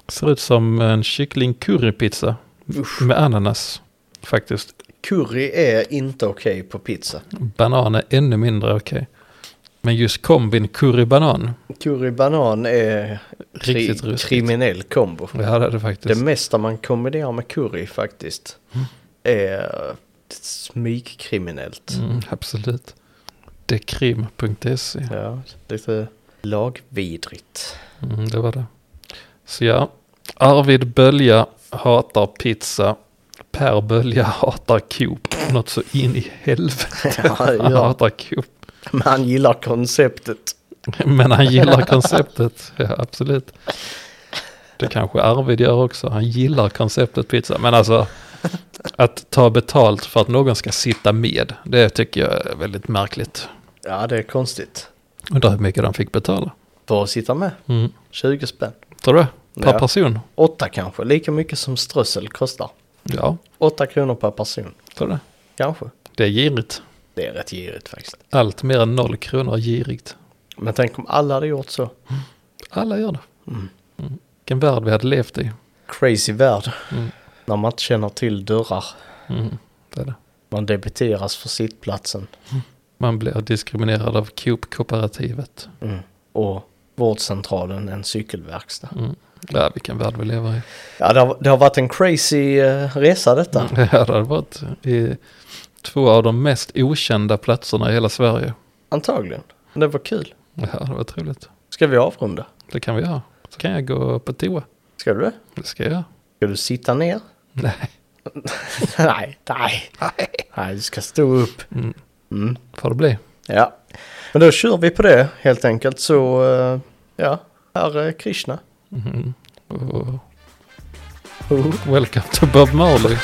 Speaker 2: Ser ut som en kyckling currypizza med ananas faktiskt.
Speaker 1: Curry är inte okej på pizza.
Speaker 2: Banan är ännu mindre okej. Men just kombin curry-banan.
Speaker 1: Curry banan är kri-
Speaker 2: Riktigt ruskigt.
Speaker 1: kriminell kombo.
Speaker 2: Ja, det är det faktiskt.
Speaker 1: Det mesta man kombinerar med curry faktiskt
Speaker 2: Mm.
Speaker 1: är smygkriminellt.
Speaker 2: Mm, absolut. Dekrim.se.
Speaker 1: Ja, lite lagvidrigt.
Speaker 2: Mm, det var det. Så ja, Arvid Bölja hatar pizza. Per Bölja hatar Coop. Något så in i helvete.
Speaker 1: Ja,
Speaker 2: Han
Speaker 1: ja.
Speaker 2: hatar Coop.
Speaker 1: Men han gillar konceptet.
Speaker 2: Men han gillar konceptet. Ja, absolut. Det kanske Arvid gör också. Han gillar konceptet pizza. Men alltså, att ta betalt för att någon ska sitta med. Det tycker jag är väldigt märkligt.
Speaker 1: Ja, det är konstigt.
Speaker 2: Undrar hur mycket de fick betala.
Speaker 1: För att sitta med.
Speaker 2: Mm.
Speaker 1: 20 spänn.
Speaker 2: Tror du? Per
Speaker 1: Ja.
Speaker 2: person?
Speaker 1: Åtta kanske, lika mycket som strössel kostar.
Speaker 2: Ja,
Speaker 1: Åtta kronor per person,
Speaker 2: tror du?
Speaker 1: kanske.
Speaker 2: Det är girigt.
Speaker 1: Det är rätt girigt faktiskt.
Speaker 2: Allt mer än noll kronor är girigt.
Speaker 1: Men tänk om alla hade gjort så.
Speaker 2: Alla gör det. Mm. Vilken värld vi hade levt i.
Speaker 1: Crazy värld.
Speaker 2: Mm.
Speaker 1: När man inte känner till dörrar.
Speaker 2: Mm. Det är det.
Speaker 1: Man debiteras för sittplatsen.
Speaker 2: Man blir diskriminerad av Coop-kooperativet.
Speaker 1: Mm. Och vårdcentralen en cykelverkstad.
Speaker 2: Mm. Ja, vilken värld vi lever i.
Speaker 1: Ja, det har, det har varit en crazy eh, resa detta.
Speaker 2: Ja, det hade varit i två av de mest okända platserna i hela Sverige.
Speaker 1: Antagligen. Men det var kul.
Speaker 2: Ja, det var trevligt.
Speaker 1: Ska vi avrunda?
Speaker 2: Det kan vi göra. Så kan jag gå på toa.
Speaker 1: Ska du det?
Speaker 2: Det ska jag göra.
Speaker 1: Ska du sitta ner?
Speaker 2: Nej,
Speaker 1: nej, nej. Nej, du ska stå upp.
Speaker 2: får det bli.
Speaker 1: Ja. Men då kör vi på det helt enkelt. Så eh, ja, här är Krishna.
Speaker 2: Mm. Och
Speaker 1: Ho, ho.
Speaker 2: welcome to Bob Marley.